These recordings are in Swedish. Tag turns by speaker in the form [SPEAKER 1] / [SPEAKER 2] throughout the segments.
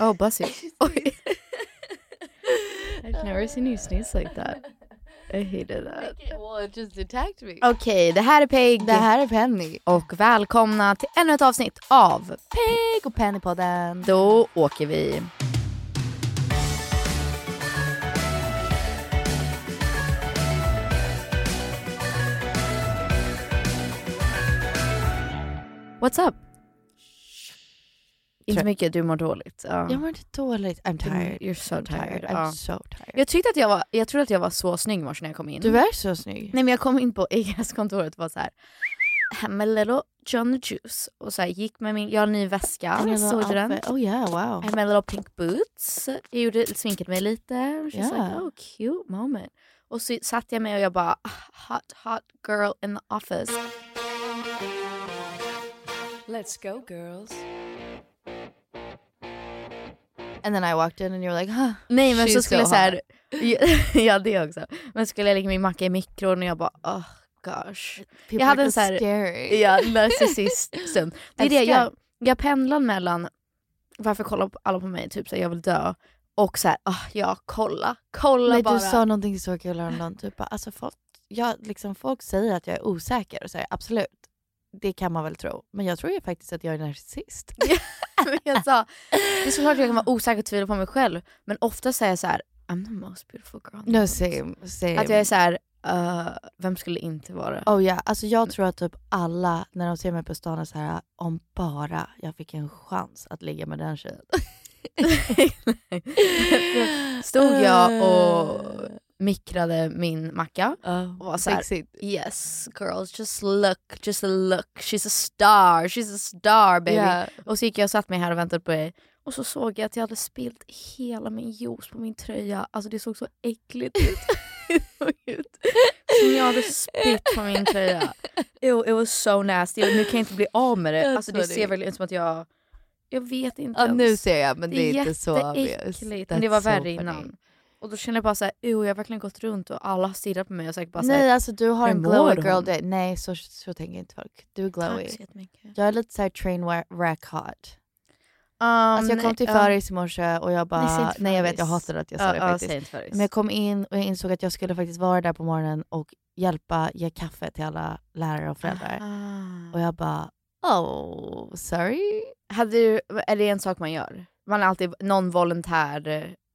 [SPEAKER 1] Oh, Bussy. Oj. I've never seen you sneeze like that. I hated that.
[SPEAKER 2] Well, it just attacked me.
[SPEAKER 1] Okej, det här är Peg.
[SPEAKER 2] Det här är Penny.
[SPEAKER 1] Och välkomna till ännu ett avsnitt av Peg och Pennypodden. Då åker vi. What's up?
[SPEAKER 2] Inte
[SPEAKER 1] Inte mycket, du mår dåligt.
[SPEAKER 2] Jag mår inte dåligt. I'm tired.
[SPEAKER 1] You're so tired.
[SPEAKER 2] I'm
[SPEAKER 1] Ja.
[SPEAKER 2] so tired.
[SPEAKER 1] Jag tyckte att jag var, jag trodde att jag var så snygg i morse när jag kom in.
[SPEAKER 2] Du är så snygg.
[SPEAKER 1] Nej men jag kom in på Acast kontoret och var så här. I'm a little John the Juice. Och så här, gick med min, jag har en ny väska, såg du den?
[SPEAKER 2] Oh yeah, wow.
[SPEAKER 1] I'm a little pink boots. Jag gjorde, sminkade mig lite. She's like,
[SPEAKER 2] Yeah.
[SPEAKER 1] oh cute moment. Och så satt jag mig och jag bara, hot hot girl in the office.
[SPEAKER 3] Let's go, girls.
[SPEAKER 2] And then I walked in and you were like, huh.
[SPEAKER 1] Nej men
[SPEAKER 2] she's
[SPEAKER 1] så skulle jag
[SPEAKER 2] so
[SPEAKER 1] så här,
[SPEAKER 2] hot.
[SPEAKER 1] ja det också. Men skulle jag lägga min macka i mikron och jag bara, oh gosh.
[SPEAKER 2] People
[SPEAKER 1] hade
[SPEAKER 2] are
[SPEAKER 1] en så här-
[SPEAKER 2] scary.
[SPEAKER 1] Ja, narcissist-stund. Det är det,
[SPEAKER 2] Älskar.
[SPEAKER 1] jag, jag pendlar mellan varför kollar alla på mig, typ såhär jag vill dö och såhär, ah ja kolla, kolla
[SPEAKER 2] Nej,
[SPEAKER 1] bara.
[SPEAKER 2] du sa någonting så kul häromdagen, typ bara, alltså folk, jag, liksom, folk säger att jag är osäker och säger absolut, det kan man väl tro. Men jag tror ju faktiskt att jag är narcissist.
[SPEAKER 1] Men Alltså, jag sa, det är såklart att jag kan vara osäker och tvivla på mig själv men ofta säger jag såhär, I'm the most beautiful girl. in the
[SPEAKER 2] No
[SPEAKER 1] world."
[SPEAKER 2] same, same.
[SPEAKER 1] Att jag är såhär, uh, vem skulle inte vara det?
[SPEAKER 2] Oh ja, alltså jag tror att typ alla när de ser mig på stan är så här, om bara jag fick en chans att ligga med den tjejen.
[SPEAKER 1] Stod jag och
[SPEAKER 2] Eh.
[SPEAKER 1] mikrade min macka och var
[SPEAKER 2] Oh,
[SPEAKER 1] såhär,
[SPEAKER 2] sexigt.
[SPEAKER 1] Yes girls, just look, just look, she's a star, she's a star baby.
[SPEAKER 2] Yeah.
[SPEAKER 1] Och så gick jag och satt mig här och väntade på dig och så såg jag att jag hade spilt hela min juice på min tröja. Alltså det såg så äckligt ut. Det såg ut Som jag hade spytt på min tröja. Ew, it was so nasty. Och nu kan jag inte bli av med det.
[SPEAKER 2] Jag
[SPEAKER 1] Alltså
[SPEAKER 2] tror
[SPEAKER 1] det
[SPEAKER 2] det.
[SPEAKER 1] ser verkligen ut som att jag... Jag vet inte
[SPEAKER 2] Ja,
[SPEAKER 1] ens.
[SPEAKER 2] nu ser jag men
[SPEAKER 1] det
[SPEAKER 2] det är, inte så obvious.
[SPEAKER 1] jätteäckligt. Men det
[SPEAKER 2] That's
[SPEAKER 1] var
[SPEAKER 2] so
[SPEAKER 1] värre
[SPEAKER 2] funny.
[SPEAKER 1] innan. Och då kände jag bara såhär, ew jag har verkligen gått runt och alla har stirrat på mig och sagt bara såhär,
[SPEAKER 2] Nej alltså du har
[SPEAKER 1] hur
[SPEAKER 2] en
[SPEAKER 1] mår
[SPEAKER 2] glowy
[SPEAKER 1] hon?
[SPEAKER 2] girl day. Nej så, så tänker inte folk. Du är glowy.
[SPEAKER 1] tack så jättemycket.
[SPEAKER 2] Jag är lite såhär train wa- wreck hot.
[SPEAKER 1] Um,
[SPEAKER 2] Alltså jag kom till Föris i morse och jag
[SPEAKER 1] Nej, säg
[SPEAKER 2] bara,
[SPEAKER 1] inte
[SPEAKER 2] nej jag vet jag
[SPEAKER 1] Föris.
[SPEAKER 2] hatar att jag sa det faktiskt. Men
[SPEAKER 1] Men
[SPEAKER 2] jag kom in och jag insåg att jag skulle faktiskt vara där på morgonen och hjälpa ge kaffe till alla lärare och föräldrar. Och jag bara, Oh, sorry.
[SPEAKER 1] Ah. Hade du, är det en sak man gör? Man är alltid någon volontär.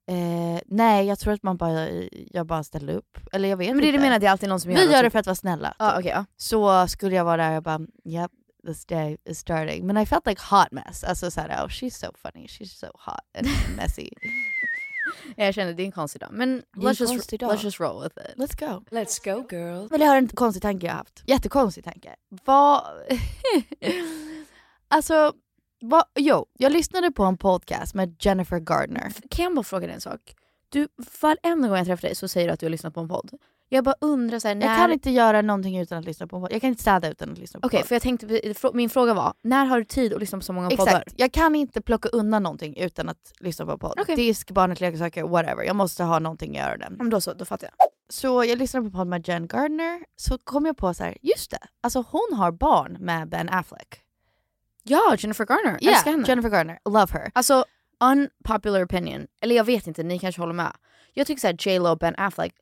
[SPEAKER 2] Eh, nej, jag tror att man bara, jag bara ställde upp. Eller jag vet
[SPEAKER 1] Men det är det
[SPEAKER 2] inte.
[SPEAKER 1] jag menar, det är alltid någon som gör
[SPEAKER 2] Typ. Vi gör
[SPEAKER 1] något
[SPEAKER 2] det för att vara snälla. typ.
[SPEAKER 1] Ja, okej, ja.
[SPEAKER 2] Så skulle jag vara där och bara, yep, this day is starting. Men I felt like hot mess. Alltså såhär, oh she's so funny, she's so hot and messy.
[SPEAKER 1] Jag känner det är en konstig dag. Men
[SPEAKER 2] Det är en
[SPEAKER 1] let's just,
[SPEAKER 2] konstig dag.
[SPEAKER 1] let's just roll with it.
[SPEAKER 2] Let's go.
[SPEAKER 4] Let's go girls.
[SPEAKER 2] Vill jag höra en konstig tanke jag haft? Jättekonstig tanke. Vad... alltså, vad... jo, jag lyssnade på en podcast med Jennifer Gardner.
[SPEAKER 1] Kan jag bara fråga dig en sak? Du, varenda gång jag träffar dig så säger du att du har lyssnat på en podd. Jag bara undrar så här, när...
[SPEAKER 2] Jag kan inte göra någonting utan att lyssna på en podd. Jag kan inte städa utan att lyssna på
[SPEAKER 1] Okej,
[SPEAKER 2] en podd.
[SPEAKER 1] för jag tänkte, min fråga var, när har du tid att lyssna på så många poddar?
[SPEAKER 2] Exakt, jag kan inte plocka undan någonting utan att lyssna på en podd.
[SPEAKER 1] Okej.
[SPEAKER 2] Disk, barnet, leksaker, whatever. Jag måste ha någonting i öronen.
[SPEAKER 1] Om då så, då fattar jag.
[SPEAKER 2] Så jag lyssnade på en podd med Jen Gardner, så kom jag på så här, just det, alltså hon har barn med Ben Affleck.
[SPEAKER 1] Ja, Jennifer Garner.
[SPEAKER 2] Ja,
[SPEAKER 1] Älskar henne.
[SPEAKER 2] Jennifer Gardner, love her.
[SPEAKER 1] Alltså, unpopular opinion. Eller jag vet inte, ni kanske håller med. Jag tycker såhär J Lo och Ben Affleck.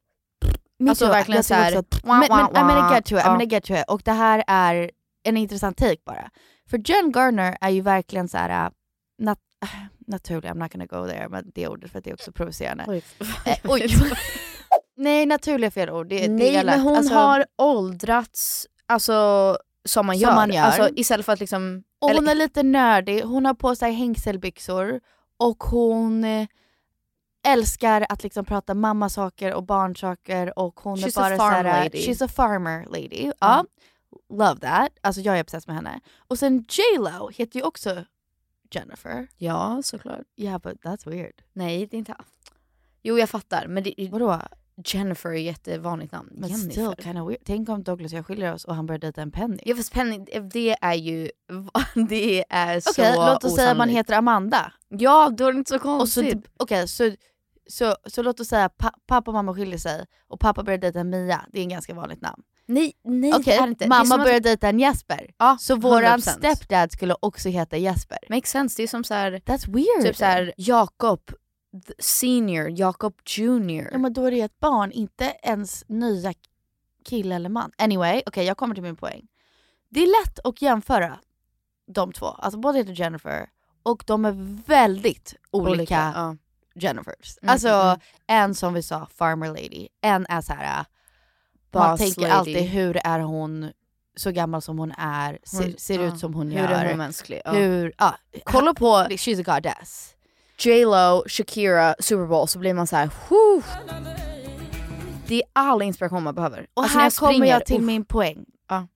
[SPEAKER 2] Me
[SPEAKER 1] Alltså
[SPEAKER 2] too.
[SPEAKER 1] verkligen
[SPEAKER 2] Jag tycker
[SPEAKER 1] såhär,
[SPEAKER 2] också att-
[SPEAKER 1] wah,
[SPEAKER 2] Men, men
[SPEAKER 1] wah,
[SPEAKER 2] I'm gonna
[SPEAKER 1] wah.
[SPEAKER 2] get to it, I'm
[SPEAKER 1] Ja.
[SPEAKER 2] gonna get to it. Och det här är en intressant take bara. För Jen Garner är ju verkligen så här, äh, nat äh, naturlig, I'm not gonna go there med det ordet för att det är också provocerande.
[SPEAKER 1] Oj.
[SPEAKER 2] Eh, oj. Nej, naturliga fel ord. Det, det är
[SPEAKER 1] Nej
[SPEAKER 2] elakt.
[SPEAKER 1] men hon
[SPEAKER 2] Alltså,
[SPEAKER 1] har åldrats, alltså som man
[SPEAKER 2] Som
[SPEAKER 1] gör.
[SPEAKER 2] man gör.
[SPEAKER 1] Alltså istället för att liksom...
[SPEAKER 2] Och
[SPEAKER 1] eller-
[SPEAKER 2] hon är lite nördig, hon har på sig hängselbyxor och hon eh, älskar att liksom prata mammasaker och barnsaker och hon
[SPEAKER 1] She's
[SPEAKER 2] är
[SPEAKER 1] a
[SPEAKER 2] bara
[SPEAKER 1] farm
[SPEAKER 2] såhär,
[SPEAKER 1] lady.
[SPEAKER 2] she's a farmer lady. Ja. Love that. Alltså jag är besatt med henne. Och sen J Lo heter ju också Jennifer.
[SPEAKER 1] Ja, såklart.
[SPEAKER 2] Yeah but that's weird.
[SPEAKER 1] Nej, det är inte... Jo, jag fattar. Men det,
[SPEAKER 2] Vadå?
[SPEAKER 1] Jennifer är ett jättevanligt namn.
[SPEAKER 2] Men
[SPEAKER 1] Jennifer.
[SPEAKER 2] still kind of weird. Tänk om Douglas och jag skiljer oss och han börjar dejta en Penny.
[SPEAKER 1] Ja fast Penny, det är ju... Det är så
[SPEAKER 2] Okej, låt oss säga att man
[SPEAKER 1] osannolikt.
[SPEAKER 2] heter Amanda.
[SPEAKER 1] Ja, då är det inte så
[SPEAKER 2] Och så,
[SPEAKER 1] konstigt.
[SPEAKER 2] typ- okej, så, så, så låt oss säga pa, pappa och mamma skiljer sig och pappa börjar dejta en Mia, det är en ganska vanligt namn.
[SPEAKER 1] nej, nej det
[SPEAKER 2] Okej,
[SPEAKER 1] är det inte. det är
[SPEAKER 2] mamma
[SPEAKER 1] som att-
[SPEAKER 2] börjar dejta en Jesper.
[SPEAKER 1] Ja,
[SPEAKER 2] Så våran
[SPEAKER 1] 100%.
[SPEAKER 2] stepdad skulle också heta Jesper.
[SPEAKER 1] Makes sense, det är som såhär,
[SPEAKER 2] That's weird.
[SPEAKER 1] typ såhär Jakob th- senior, Jakob junior.
[SPEAKER 2] ja, men då är det ett barn, inte ens nya kille eller man. Anyway, okej jag kommer till min poäng. Det är lätt att jämföra de två, alltså båda heter Jennifer och de är väldigt olika,
[SPEAKER 1] ja.
[SPEAKER 2] Jennifers.
[SPEAKER 1] Mm,
[SPEAKER 2] alltså
[SPEAKER 1] mm, mm.
[SPEAKER 2] en som vi sa, farmer lady. En är så här, man
[SPEAKER 1] Boss
[SPEAKER 2] tänker
[SPEAKER 1] lady.
[SPEAKER 2] alltid hur är hon så gammal som hon är, ser,
[SPEAKER 1] Hon-
[SPEAKER 2] ser
[SPEAKER 1] ja.
[SPEAKER 2] ut som hon
[SPEAKER 1] Hur
[SPEAKER 2] gör.
[SPEAKER 1] är hon mänsklig? Ja.
[SPEAKER 2] Hur, ja.
[SPEAKER 1] Kolla på-
[SPEAKER 2] she's a goddess.
[SPEAKER 1] J Lo, Shakira, Super Bowl så blir man så här, "Whew." Det är all inspiration man behöver.
[SPEAKER 2] Och
[SPEAKER 1] Alltså, när
[SPEAKER 2] här kommer jag till
[SPEAKER 1] uff.
[SPEAKER 2] min poäng.
[SPEAKER 1] Ja.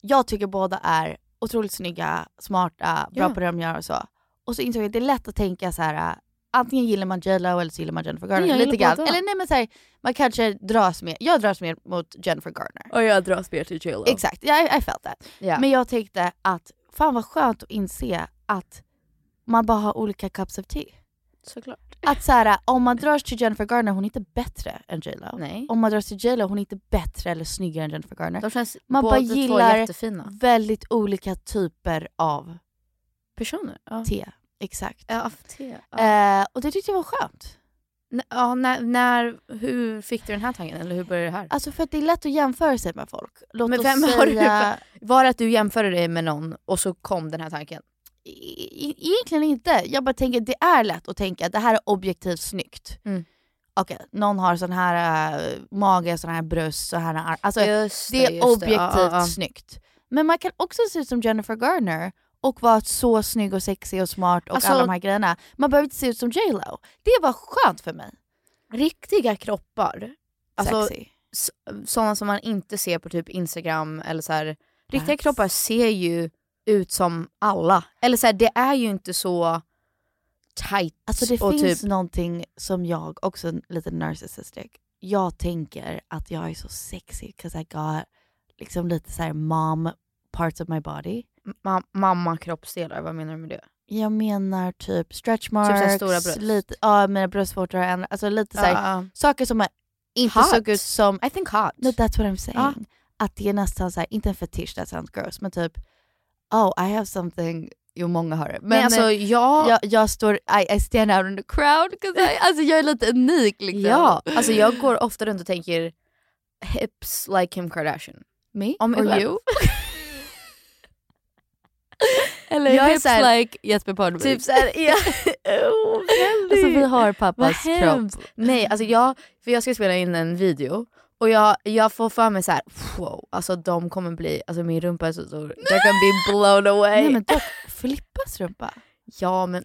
[SPEAKER 2] Jag tycker båda är otroligt snygga, smarta, bra
[SPEAKER 1] Ja.
[SPEAKER 2] på det de gör och så. Och så insåg jag att det är lätt att tänka så här. äh, Antingen gillar man J Lo eller så gillar man Jennifer Garner.
[SPEAKER 1] Nej, jag
[SPEAKER 2] lite
[SPEAKER 1] gillar
[SPEAKER 2] grann.
[SPEAKER 1] båda.
[SPEAKER 2] Eller nej men så här, man kanske dras mer, jag dras mer mot Jennifer Garner.
[SPEAKER 1] Och jag dras mer till J Lo.
[SPEAKER 2] Exakt, jag I felt that.
[SPEAKER 1] Ja.
[SPEAKER 2] Men jag tänkte att fan vad skönt att inse att man bara har olika cups of tea.
[SPEAKER 1] Såklart.
[SPEAKER 2] Att så här, om man dras till Jennifer Garner, hon är inte bättre än J Lo.
[SPEAKER 1] Nej.
[SPEAKER 2] Om man dras till J Lo, hon är inte bättre eller snyggare än Jennifer Garner.
[SPEAKER 1] De känns
[SPEAKER 2] Man
[SPEAKER 1] båda
[SPEAKER 2] bara gillar
[SPEAKER 1] två jättefina
[SPEAKER 2] Väldigt olika typer av
[SPEAKER 1] personer. Ja.
[SPEAKER 2] te. Exakt.
[SPEAKER 1] Ja, te. Ja.
[SPEAKER 2] Eh, och det tyckte jag var skönt.
[SPEAKER 1] N- ja, när, när, hur fick du den här tanken? Eller hur började det här?
[SPEAKER 2] Alltså för att det är lätt att jämföra sig med folk. Låt
[SPEAKER 1] Men
[SPEAKER 2] oss
[SPEAKER 1] vem har du
[SPEAKER 2] säga...
[SPEAKER 1] Var det att du jämförde dig med någon och så kom den här tanken?
[SPEAKER 2] E- e- Egentligen inte. Jag bara tänker det är lätt att tänka att det här är objektivt snyggt.
[SPEAKER 1] Mm.
[SPEAKER 2] Okej, någon har sån här äh, mage, sån här bröst, så här arm. Alltså
[SPEAKER 1] Just
[SPEAKER 2] det
[SPEAKER 1] just
[SPEAKER 2] är objektivt
[SPEAKER 1] Ja, ja, ja.
[SPEAKER 2] snyggt. Men man kan också se ut som Jennifer Garner och vara så snygg och sexig och smart och
[SPEAKER 1] Alltså-
[SPEAKER 2] alla de här grejerna. Man behöver inte se ut som J Lo. Det var skönt för mig.
[SPEAKER 1] Riktiga kroppar, alltså
[SPEAKER 2] Sexy.
[SPEAKER 1] s- sådana som man inte ser på typ Instagram eller så här. Riktiga
[SPEAKER 2] Nice.
[SPEAKER 1] kroppar ser ju ut som alla. Eller så här, det är ju inte så tight
[SPEAKER 2] Alltså det
[SPEAKER 1] och
[SPEAKER 2] finns
[SPEAKER 1] typ...
[SPEAKER 2] någonting som jag, också lite narcissistic, jag tänker att jag är så sexy because I got liksom lite så här mom parts of my body.
[SPEAKER 1] Ma- mamma kroppsdelar, vad menar du med det?
[SPEAKER 2] Jag menar typ stretch
[SPEAKER 1] så
[SPEAKER 2] marks,
[SPEAKER 1] här stora bröst.
[SPEAKER 2] Lite, ja, mina bröstvårtor, har ändrat- alltså lite så här,
[SPEAKER 1] Ja, ja.
[SPEAKER 2] saker som är inte
[SPEAKER 1] Hot.
[SPEAKER 2] såg ut som,
[SPEAKER 1] I think hot.
[SPEAKER 2] no that's what I'm saying.
[SPEAKER 1] Ja.
[SPEAKER 2] Att det är nästan så här, inte en fetisch, that sounds gross, men typ oh I have something, jo många har det. Men,
[SPEAKER 1] Men, alltså
[SPEAKER 2] eh,
[SPEAKER 1] jag...
[SPEAKER 2] jag, jag står, I, I stand out in the crowd, 'cause I, alltså jag är lite unik liksom.
[SPEAKER 1] Ja, alltså jag går ofta runt och tänker hips like Kim Kardashian.
[SPEAKER 2] Me?
[SPEAKER 1] Om
[SPEAKER 2] Or
[SPEAKER 1] mig själv.
[SPEAKER 2] you? Eller
[SPEAKER 1] jag är
[SPEAKER 2] hips
[SPEAKER 1] såhär-
[SPEAKER 2] like Jesper Parnevik.
[SPEAKER 1] Typ såhär, ja. oh, väldigt.
[SPEAKER 2] Alltså vi har pappas
[SPEAKER 1] Vad
[SPEAKER 2] kropp.
[SPEAKER 1] hemskt. Nej, alltså jag, för jag ska spela in en video och jag, jag får för mig så här: wow, alltså de kommer bli, alltså min rumpa är så stor, they're gonna be blown away.
[SPEAKER 2] Nej men dock, Filippas rumpa.
[SPEAKER 1] Ja men,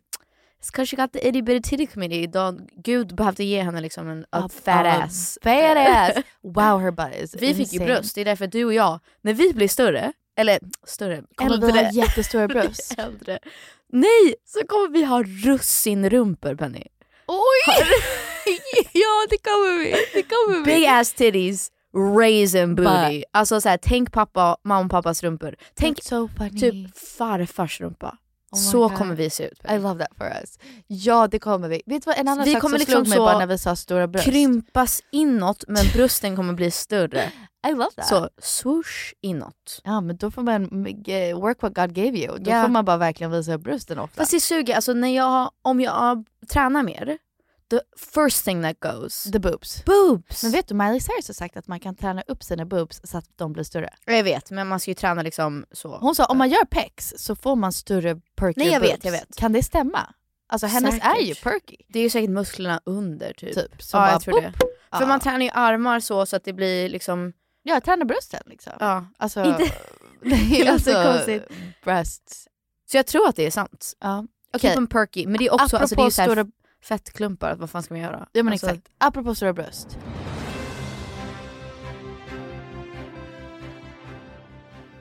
[SPEAKER 1] it's cause she got the itty bitty titty committee. De, Gud behövde ge henne liksom en a
[SPEAKER 2] A-
[SPEAKER 1] fat
[SPEAKER 2] a
[SPEAKER 1] ass.
[SPEAKER 2] fat ass. Wow her butt is
[SPEAKER 1] Vi fick ju
[SPEAKER 2] insane.
[SPEAKER 1] bröst, det är därför du och jag, när vi blir större, eller större,
[SPEAKER 2] Kommer vi
[SPEAKER 1] äldre.
[SPEAKER 2] ha jättestora bröst?
[SPEAKER 1] äldre. Nej, så kommer vi ha russinrumpor Penny.
[SPEAKER 2] Oj! ja det kommer vi. Det kommer vi.
[SPEAKER 1] Big ass titties, raisin booty.
[SPEAKER 2] But-
[SPEAKER 1] Alltså såhär, tänk pappa, mamma och pappas rumpor. Tänk
[SPEAKER 2] That's so funny.
[SPEAKER 1] typ farfars rumpa.
[SPEAKER 2] Oh my
[SPEAKER 1] så
[SPEAKER 2] God.
[SPEAKER 1] kommer vi se ut. Penny.
[SPEAKER 2] I love that for us. Ja det kommer vi. Vet du vad en annan
[SPEAKER 1] Vi
[SPEAKER 2] sak
[SPEAKER 1] kommer
[SPEAKER 2] som
[SPEAKER 1] liksom
[SPEAKER 2] slog mig
[SPEAKER 1] så
[SPEAKER 2] bara när vi sa stora bröst?
[SPEAKER 1] Krympas inåt men brösten kommer bli större.
[SPEAKER 2] I love that.
[SPEAKER 1] Så swoosh inåt.
[SPEAKER 2] Ja men då får man eh, work what God gave you. Då
[SPEAKER 1] Ja.
[SPEAKER 2] får man bara verkligen visa brösten ofta.
[SPEAKER 1] Fast det suger, alltså när jag, om jag tränar mer, the first thing that goes,
[SPEAKER 2] The boobs.
[SPEAKER 1] boobs.
[SPEAKER 2] Men vet du, Miley Cyrus har sagt att man kan träna upp sina boobs så att de blir större.
[SPEAKER 1] jag vet, men man ska ju träna liksom så.
[SPEAKER 2] Hon sa om man gör pecs så får man större perky
[SPEAKER 1] Nej, jag
[SPEAKER 2] boobs.
[SPEAKER 1] vet, jag vet.
[SPEAKER 2] Kan det stämma? Alltså hennes
[SPEAKER 1] Säkert.
[SPEAKER 2] är ju perky.
[SPEAKER 1] Det är ju säkert musklerna under typ.
[SPEAKER 2] Typ, som
[SPEAKER 1] ja,
[SPEAKER 2] bara
[SPEAKER 1] jag tror det.
[SPEAKER 2] boop.
[SPEAKER 1] För
[SPEAKER 2] Ja.
[SPEAKER 1] man tränar ju armar så, så att det blir liksom...
[SPEAKER 2] Ja, jag tränar brösten liksom.
[SPEAKER 1] Ja.
[SPEAKER 2] Alltså,
[SPEAKER 1] Inte-
[SPEAKER 2] det är
[SPEAKER 1] låter
[SPEAKER 2] alltså
[SPEAKER 1] konstigt.
[SPEAKER 2] breasts.
[SPEAKER 1] Så jag tror att det är sant.
[SPEAKER 2] Ja.
[SPEAKER 1] Typ en perky. Men det är också alltså, det är
[SPEAKER 2] Apropå
[SPEAKER 1] ju så här
[SPEAKER 2] stora-
[SPEAKER 1] fettklumpar, vad fan ska man göra?
[SPEAKER 2] Ja men
[SPEAKER 1] alltså,
[SPEAKER 2] exakt. Apropå stora bröst.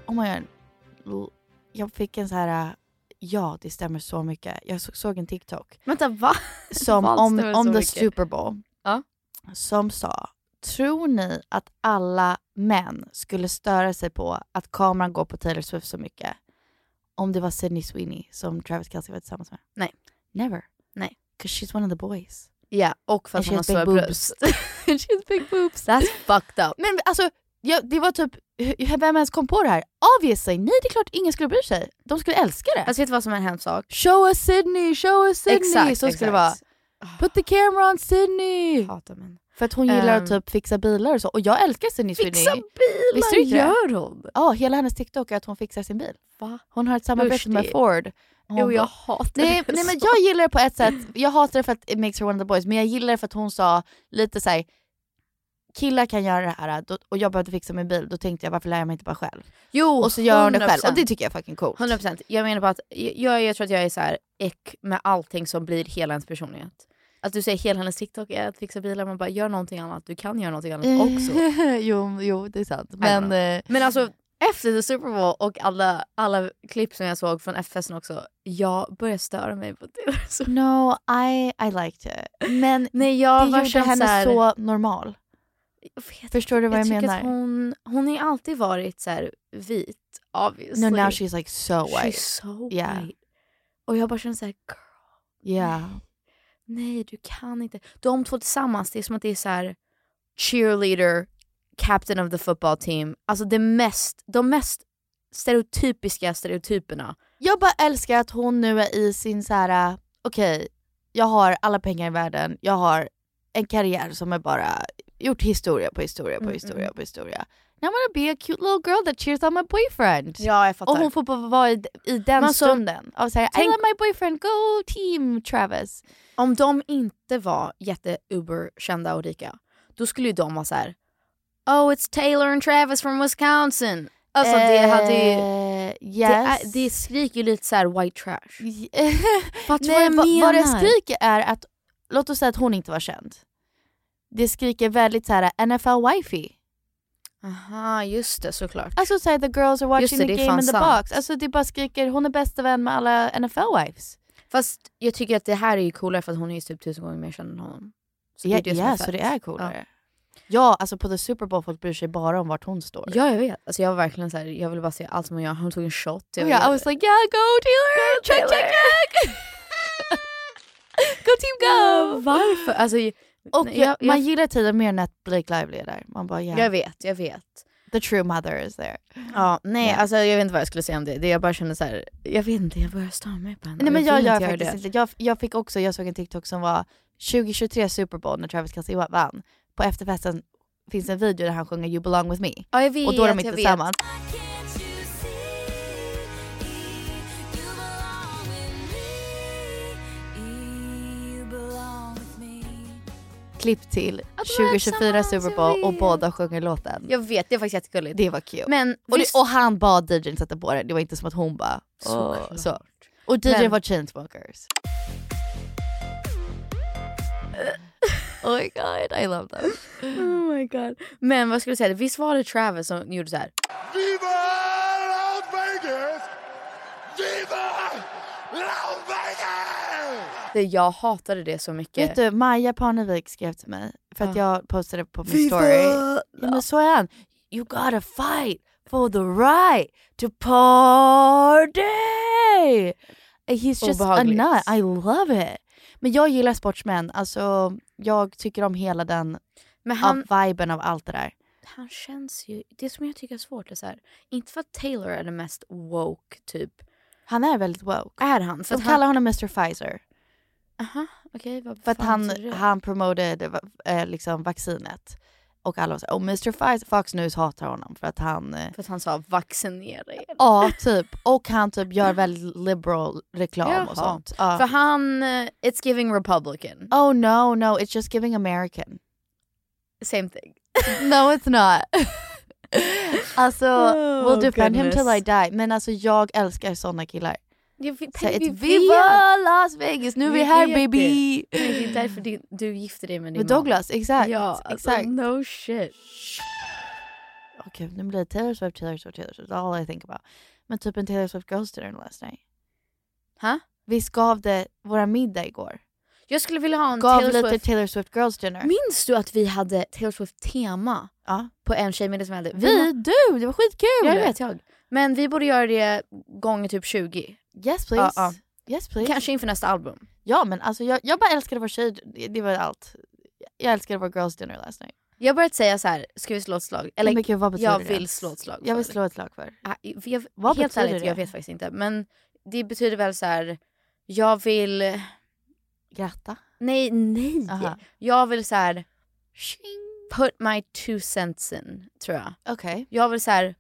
[SPEAKER 2] Oh my god. L- Jag fick en så här, äh, ja det stämmer så mycket. Jag så- såg en TikTok
[SPEAKER 1] Vänta va?
[SPEAKER 2] som
[SPEAKER 1] Vad
[SPEAKER 2] om,
[SPEAKER 1] stämmer så
[SPEAKER 2] om the
[SPEAKER 1] mycket?
[SPEAKER 2] Super Bowl.
[SPEAKER 1] Ja.
[SPEAKER 2] Som sa, tror ni att alla män skulle störa sig på att kameran går på Taylor Swift så mycket? Om det var Sydney Sweeney som Travis Kelce var tillsammans med?
[SPEAKER 1] Nej.
[SPEAKER 2] Never.
[SPEAKER 1] Nej.
[SPEAKER 2] Cause she's one of the boys.
[SPEAKER 1] Ja, och för att
[SPEAKER 2] And
[SPEAKER 1] hon har
[SPEAKER 2] she
[SPEAKER 1] stora
[SPEAKER 2] has big
[SPEAKER 1] bröst. And she has big boobs. That's fucked up.
[SPEAKER 2] Men alltså, ja, det var typ, h- vem ens kom på det här? Obviously, nej det är klart ingen skulle bry sig. De skulle älska det.
[SPEAKER 1] Alltså vet du vad som är en hemsk sak?
[SPEAKER 2] show us Sydney, show us Sydney! så skulle det vara. Put the camera on Sydney!
[SPEAKER 1] Hatar män.
[SPEAKER 2] För att hon gillar att
[SPEAKER 1] Ehm.
[SPEAKER 2] typ fixa bilar och så. Och jag älskar Sydney
[SPEAKER 1] Fixa
[SPEAKER 2] Sweeney.
[SPEAKER 1] bilar
[SPEAKER 2] Visste du inte det?
[SPEAKER 1] gör hon?
[SPEAKER 2] Ja, hela hennes TikTok är att hon fixar sin bil.
[SPEAKER 1] Va?
[SPEAKER 2] Hon har ett samarbete
[SPEAKER 1] Usch,
[SPEAKER 2] med
[SPEAKER 1] det-
[SPEAKER 2] Ford. Hon
[SPEAKER 1] Jo jag
[SPEAKER 2] bara-
[SPEAKER 1] hatar
[SPEAKER 2] Nej,
[SPEAKER 1] det
[SPEAKER 2] nej men
[SPEAKER 1] så.
[SPEAKER 2] jag gillar det på ett sätt. Jag hatar det för att it makes her one of the boys. Men jag gillar det för att hon sa lite så här. killar kan göra det här då- och jag behövde fixa min bil. Då tänkte jag varför lär jag mig inte bara själv?
[SPEAKER 1] Jo,
[SPEAKER 2] Och så gör hon det själv
[SPEAKER 1] 100%.
[SPEAKER 2] och det tycker jag är fucking coolt.
[SPEAKER 1] 100% Jag menar bara att jag, jag tror att jag är så här äck med allting som blir hela ens personlighet. Att du säger hela hennes TikTok är att fixa bilar, man bara gör någonting annat, du kan göra någonting annat
[SPEAKER 2] Mm.
[SPEAKER 1] också.
[SPEAKER 2] jo, jo, det är sant.
[SPEAKER 1] don't
[SPEAKER 2] Men
[SPEAKER 1] know.
[SPEAKER 2] eh,
[SPEAKER 1] Men alltså efter The Super Bowl och alla, alla klipp som jag såg från F-festen också, jag börjar störa mig på Taylor Swift.
[SPEAKER 2] no, I, I liked it. Men
[SPEAKER 1] Nej jag
[SPEAKER 2] det
[SPEAKER 1] var
[SPEAKER 2] gjorde henne så normal. Förstår du vad jag,
[SPEAKER 1] tycker
[SPEAKER 2] menar?
[SPEAKER 1] Att hon, hon har ju alltid varit så här vit, obviously.
[SPEAKER 2] No, now she's like so
[SPEAKER 1] She's
[SPEAKER 2] white.
[SPEAKER 1] so
[SPEAKER 2] Yeah.
[SPEAKER 1] white. Och jag bara känner så här, girl.
[SPEAKER 2] Yeah.
[SPEAKER 1] Nej, du kan inte. De två tillsammans, det är som att det är så här cheerleader, captain of the football team. Alltså det mest, de mest stereotypiska stereotyperna.
[SPEAKER 2] Jag bara älskar att hon nu är i sin så här. äh, okej, jag har alla pengar i världen, jag har en karriär som är bara gjort historia på historia på
[SPEAKER 1] Mm,
[SPEAKER 2] historia
[SPEAKER 1] mm.
[SPEAKER 2] på historia. Now I'm gonna be a cute little girl that cheers on my boyfriend.
[SPEAKER 1] Ja, jag
[SPEAKER 2] Och hon får bara vara i, i den
[SPEAKER 1] Men alltså,
[SPEAKER 2] stunden. Av så här, I
[SPEAKER 1] tänk-
[SPEAKER 2] love my boyfriend, go team Travis.
[SPEAKER 1] Om de inte var jätte-uber-kända och rika, då skulle ju de vara så här. Oh, it's Taylor and Travis from Wisconsin. Alltså det hade ju...
[SPEAKER 2] Eh,
[SPEAKER 1] Det,
[SPEAKER 2] yes.
[SPEAKER 1] är, det skriker ju lite så här white trash. Fattar du vad
[SPEAKER 2] Nej,
[SPEAKER 1] jag
[SPEAKER 2] vad, vad det
[SPEAKER 1] menar?
[SPEAKER 2] skriker är att, låt oss säga att hon inte var känd. Det skriker väldigt så här NFL wifey.
[SPEAKER 1] Aha, just det såklart.
[SPEAKER 2] Alltså så här, the girls are
[SPEAKER 1] Just
[SPEAKER 2] watching
[SPEAKER 1] det, det
[SPEAKER 2] the
[SPEAKER 1] är
[SPEAKER 2] game
[SPEAKER 1] fan
[SPEAKER 2] in the
[SPEAKER 1] sant.
[SPEAKER 2] box. Alltså det bara skriker, hon är bästa vän med alla NFL wives.
[SPEAKER 1] Fast jag tycker att det här är ju coolare för att hon är ju typ tusen gånger mer känd än honom. Så
[SPEAKER 2] ja,
[SPEAKER 1] som
[SPEAKER 2] ja,
[SPEAKER 1] fett.
[SPEAKER 2] så det är coolare. Ja. alltså på the Super Bowl folk bryr sig bara om vart hon står.
[SPEAKER 1] Ja. ja, jag vet. Alltså jag var verkligen så här, jag ville bara se allt som hon gör. Hon tog en shot. Jag
[SPEAKER 2] Och jag oh I
[SPEAKER 1] ville-
[SPEAKER 2] was like yeah Typ. go Taylor,
[SPEAKER 1] Go,
[SPEAKER 2] check
[SPEAKER 1] Taylor."
[SPEAKER 2] check check! go team
[SPEAKER 1] Ja,
[SPEAKER 2] go!
[SPEAKER 1] varför? Alltså,
[SPEAKER 2] Och
[SPEAKER 1] nej,
[SPEAKER 2] jag,
[SPEAKER 1] jag-
[SPEAKER 2] man
[SPEAKER 1] jag-
[SPEAKER 2] gillar Taylor mer när Blake Lively är där. Man bara yeah,
[SPEAKER 1] Jag vet, jag vet.
[SPEAKER 2] the true mother is there.
[SPEAKER 1] Ja, nej,
[SPEAKER 2] Ja.
[SPEAKER 1] alltså jag vet inte vad jag skulle säga om det. det jag bara kände så här, jag vet inte, jag börjar störa mig på henne.
[SPEAKER 2] Nej men jag
[SPEAKER 1] vill
[SPEAKER 2] gör
[SPEAKER 1] inte göra
[SPEAKER 2] faktiskt
[SPEAKER 1] det.
[SPEAKER 2] inte. Jag, jag fick också, jag såg en TikTok som var 2023 Super Bowl när Travis Kelce vann. På efterfesten finns en video där han sjunger You belong with me.
[SPEAKER 1] Ja, jag vet,
[SPEAKER 2] och då är de
[SPEAKER 1] jag
[SPEAKER 2] inte
[SPEAKER 1] vet.
[SPEAKER 2] tillsammans.
[SPEAKER 3] Can't you see you
[SPEAKER 2] Klipp till
[SPEAKER 1] Att de är
[SPEAKER 2] 2024
[SPEAKER 1] tillsammans,
[SPEAKER 2] Super
[SPEAKER 1] jag
[SPEAKER 2] Bowl och
[SPEAKER 1] vet.
[SPEAKER 2] båda sjunger låten.
[SPEAKER 1] Jag vet, det var faktiskt jättegulligt.
[SPEAKER 2] Det var cute.
[SPEAKER 1] Men
[SPEAKER 2] och,
[SPEAKER 1] visst-
[SPEAKER 2] det, och han bad DJn sätta på den, det var inte som att hon bara... "Åh",
[SPEAKER 1] Såklart.
[SPEAKER 2] så. Och DJn
[SPEAKER 1] Men-
[SPEAKER 2] var Chainsmokers. oh my god, I love them.
[SPEAKER 1] Oh my god. Men vad skulle jag säga, visst var det Travis som gjorde så här?
[SPEAKER 5] Viva Las Vegas! Viva Las Vegas!
[SPEAKER 1] Det, jag hatade det så mycket.
[SPEAKER 2] Vet du, Maja Parnevik skrev till mig för att
[SPEAKER 1] Ja.
[SPEAKER 2] jag postade på min
[SPEAKER 1] Viva
[SPEAKER 2] story. Ja, men så är han. You gotta fight for the right to party! He's just a
[SPEAKER 1] Obehagligt.
[SPEAKER 2] nut, I love it. Men jag gillar sportsmän, alltså jag tycker om hela den
[SPEAKER 1] Men han-
[SPEAKER 2] av viben av allt det där.
[SPEAKER 1] Han känns ju, det som jag tycker är svårt är så här, inte för att Taylor är den mest woke typ.
[SPEAKER 2] Han är väldigt woke.
[SPEAKER 1] Är han?
[SPEAKER 2] De
[SPEAKER 1] att
[SPEAKER 2] kallar honom Mr Pfizer.
[SPEAKER 1] Aha, okej. vad
[SPEAKER 2] För att
[SPEAKER 1] fan
[SPEAKER 2] han,
[SPEAKER 1] betyder det?
[SPEAKER 2] han promoted va- eh, liksom vaccinet. Och alla var såhär, oh Mr Pfizer, Fox News hatar honom för att han... eh,
[SPEAKER 1] För att han sa vaccinera er.
[SPEAKER 2] Ja, typ. Och han typ gör väldigt liberal reklam
[SPEAKER 1] Jaha.
[SPEAKER 2] och sånt. Ja.
[SPEAKER 1] För han, eh, it's giving republican.
[SPEAKER 2] Oh no, no, it's just giving American.
[SPEAKER 1] Same thing.
[SPEAKER 2] No it's not. alltså,
[SPEAKER 1] Oh,
[SPEAKER 2] we'll defend him till I
[SPEAKER 1] goodness.
[SPEAKER 2] die. Men alltså jag älskar såna killar.
[SPEAKER 1] Jag vet,
[SPEAKER 2] Så
[SPEAKER 1] vi
[SPEAKER 2] ett
[SPEAKER 1] vet.
[SPEAKER 2] Viva Las Vegas, nu är vi här
[SPEAKER 1] vet
[SPEAKER 2] baby!
[SPEAKER 1] Det. Nej, det är därför du, du gifte dig med din
[SPEAKER 2] Med
[SPEAKER 1] man.
[SPEAKER 2] Douglas, exakt.
[SPEAKER 1] Ja, alltså,
[SPEAKER 2] exakt.
[SPEAKER 1] no shit.
[SPEAKER 2] Okej, nu blir det Taylor Swift, Taylor Swift, Taylor Swift. All I think about. Men typ en Taylor Swift Ghost dinner last night.
[SPEAKER 1] Ha?
[SPEAKER 2] Vi skavde våra middag igår.
[SPEAKER 1] Jag skulle vilja ha en
[SPEAKER 2] Gav
[SPEAKER 1] Taylor
[SPEAKER 2] lite
[SPEAKER 1] Swift.
[SPEAKER 2] Taylor Swift Girls dinner.
[SPEAKER 1] Minns du att vi hade Taylor Swift tema
[SPEAKER 2] Ja.
[SPEAKER 1] på en tjejmiddag som vi hade?
[SPEAKER 2] Vi, du, det var skitkul!
[SPEAKER 1] Jag vet, jag. Men vi borde göra det gånger typ 20.
[SPEAKER 2] Yes please.
[SPEAKER 1] Ja,
[SPEAKER 2] Yes please.
[SPEAKER 1] Kanske inför nästa album.
[SPEAKER 2] Ja men alltså jag, jag bara älskade vår tjej, det- det var allt. Jag älskade vår girls dinner last night.
[SPEAKER 1] Jag har börjat säga så här, ska vi slå ett slag?
[SPEAKER 2] Nej, men gud, vad betyder
[SPEAKER 1] jag
[SPEAKER 2] det
[SPEAKER 1] vill
[SPEAKER 2] ens?
[SPEAKER 1] slå ett slag
[SPEAKER 2] Jag vill
[SPEAKER 1] för.
[SPEAKER 2] slå ett slag för.
[SPEAKER 1] Ah, jag,
[SPEAKER 2] Vad
[SPEAKER 1] helt
[SPEAKER 2] betyder
[SPEAKER 1] ärligt,
[SPEAKER 2] det?
[SPEAKER 1] jag vet faktiskt inte. Men det betyder väl så här, jag vill...
[SPEAKER 2] Gratta.
[SPEAKER 1] Nej, nej.
[SPEAKER 2] Aha.
[SPEAKER 1] Jag vill så här, put my two cents in, tror jag.
[SPEAKER 2] Okej.
[SPEAKER 1] Jag vill så här,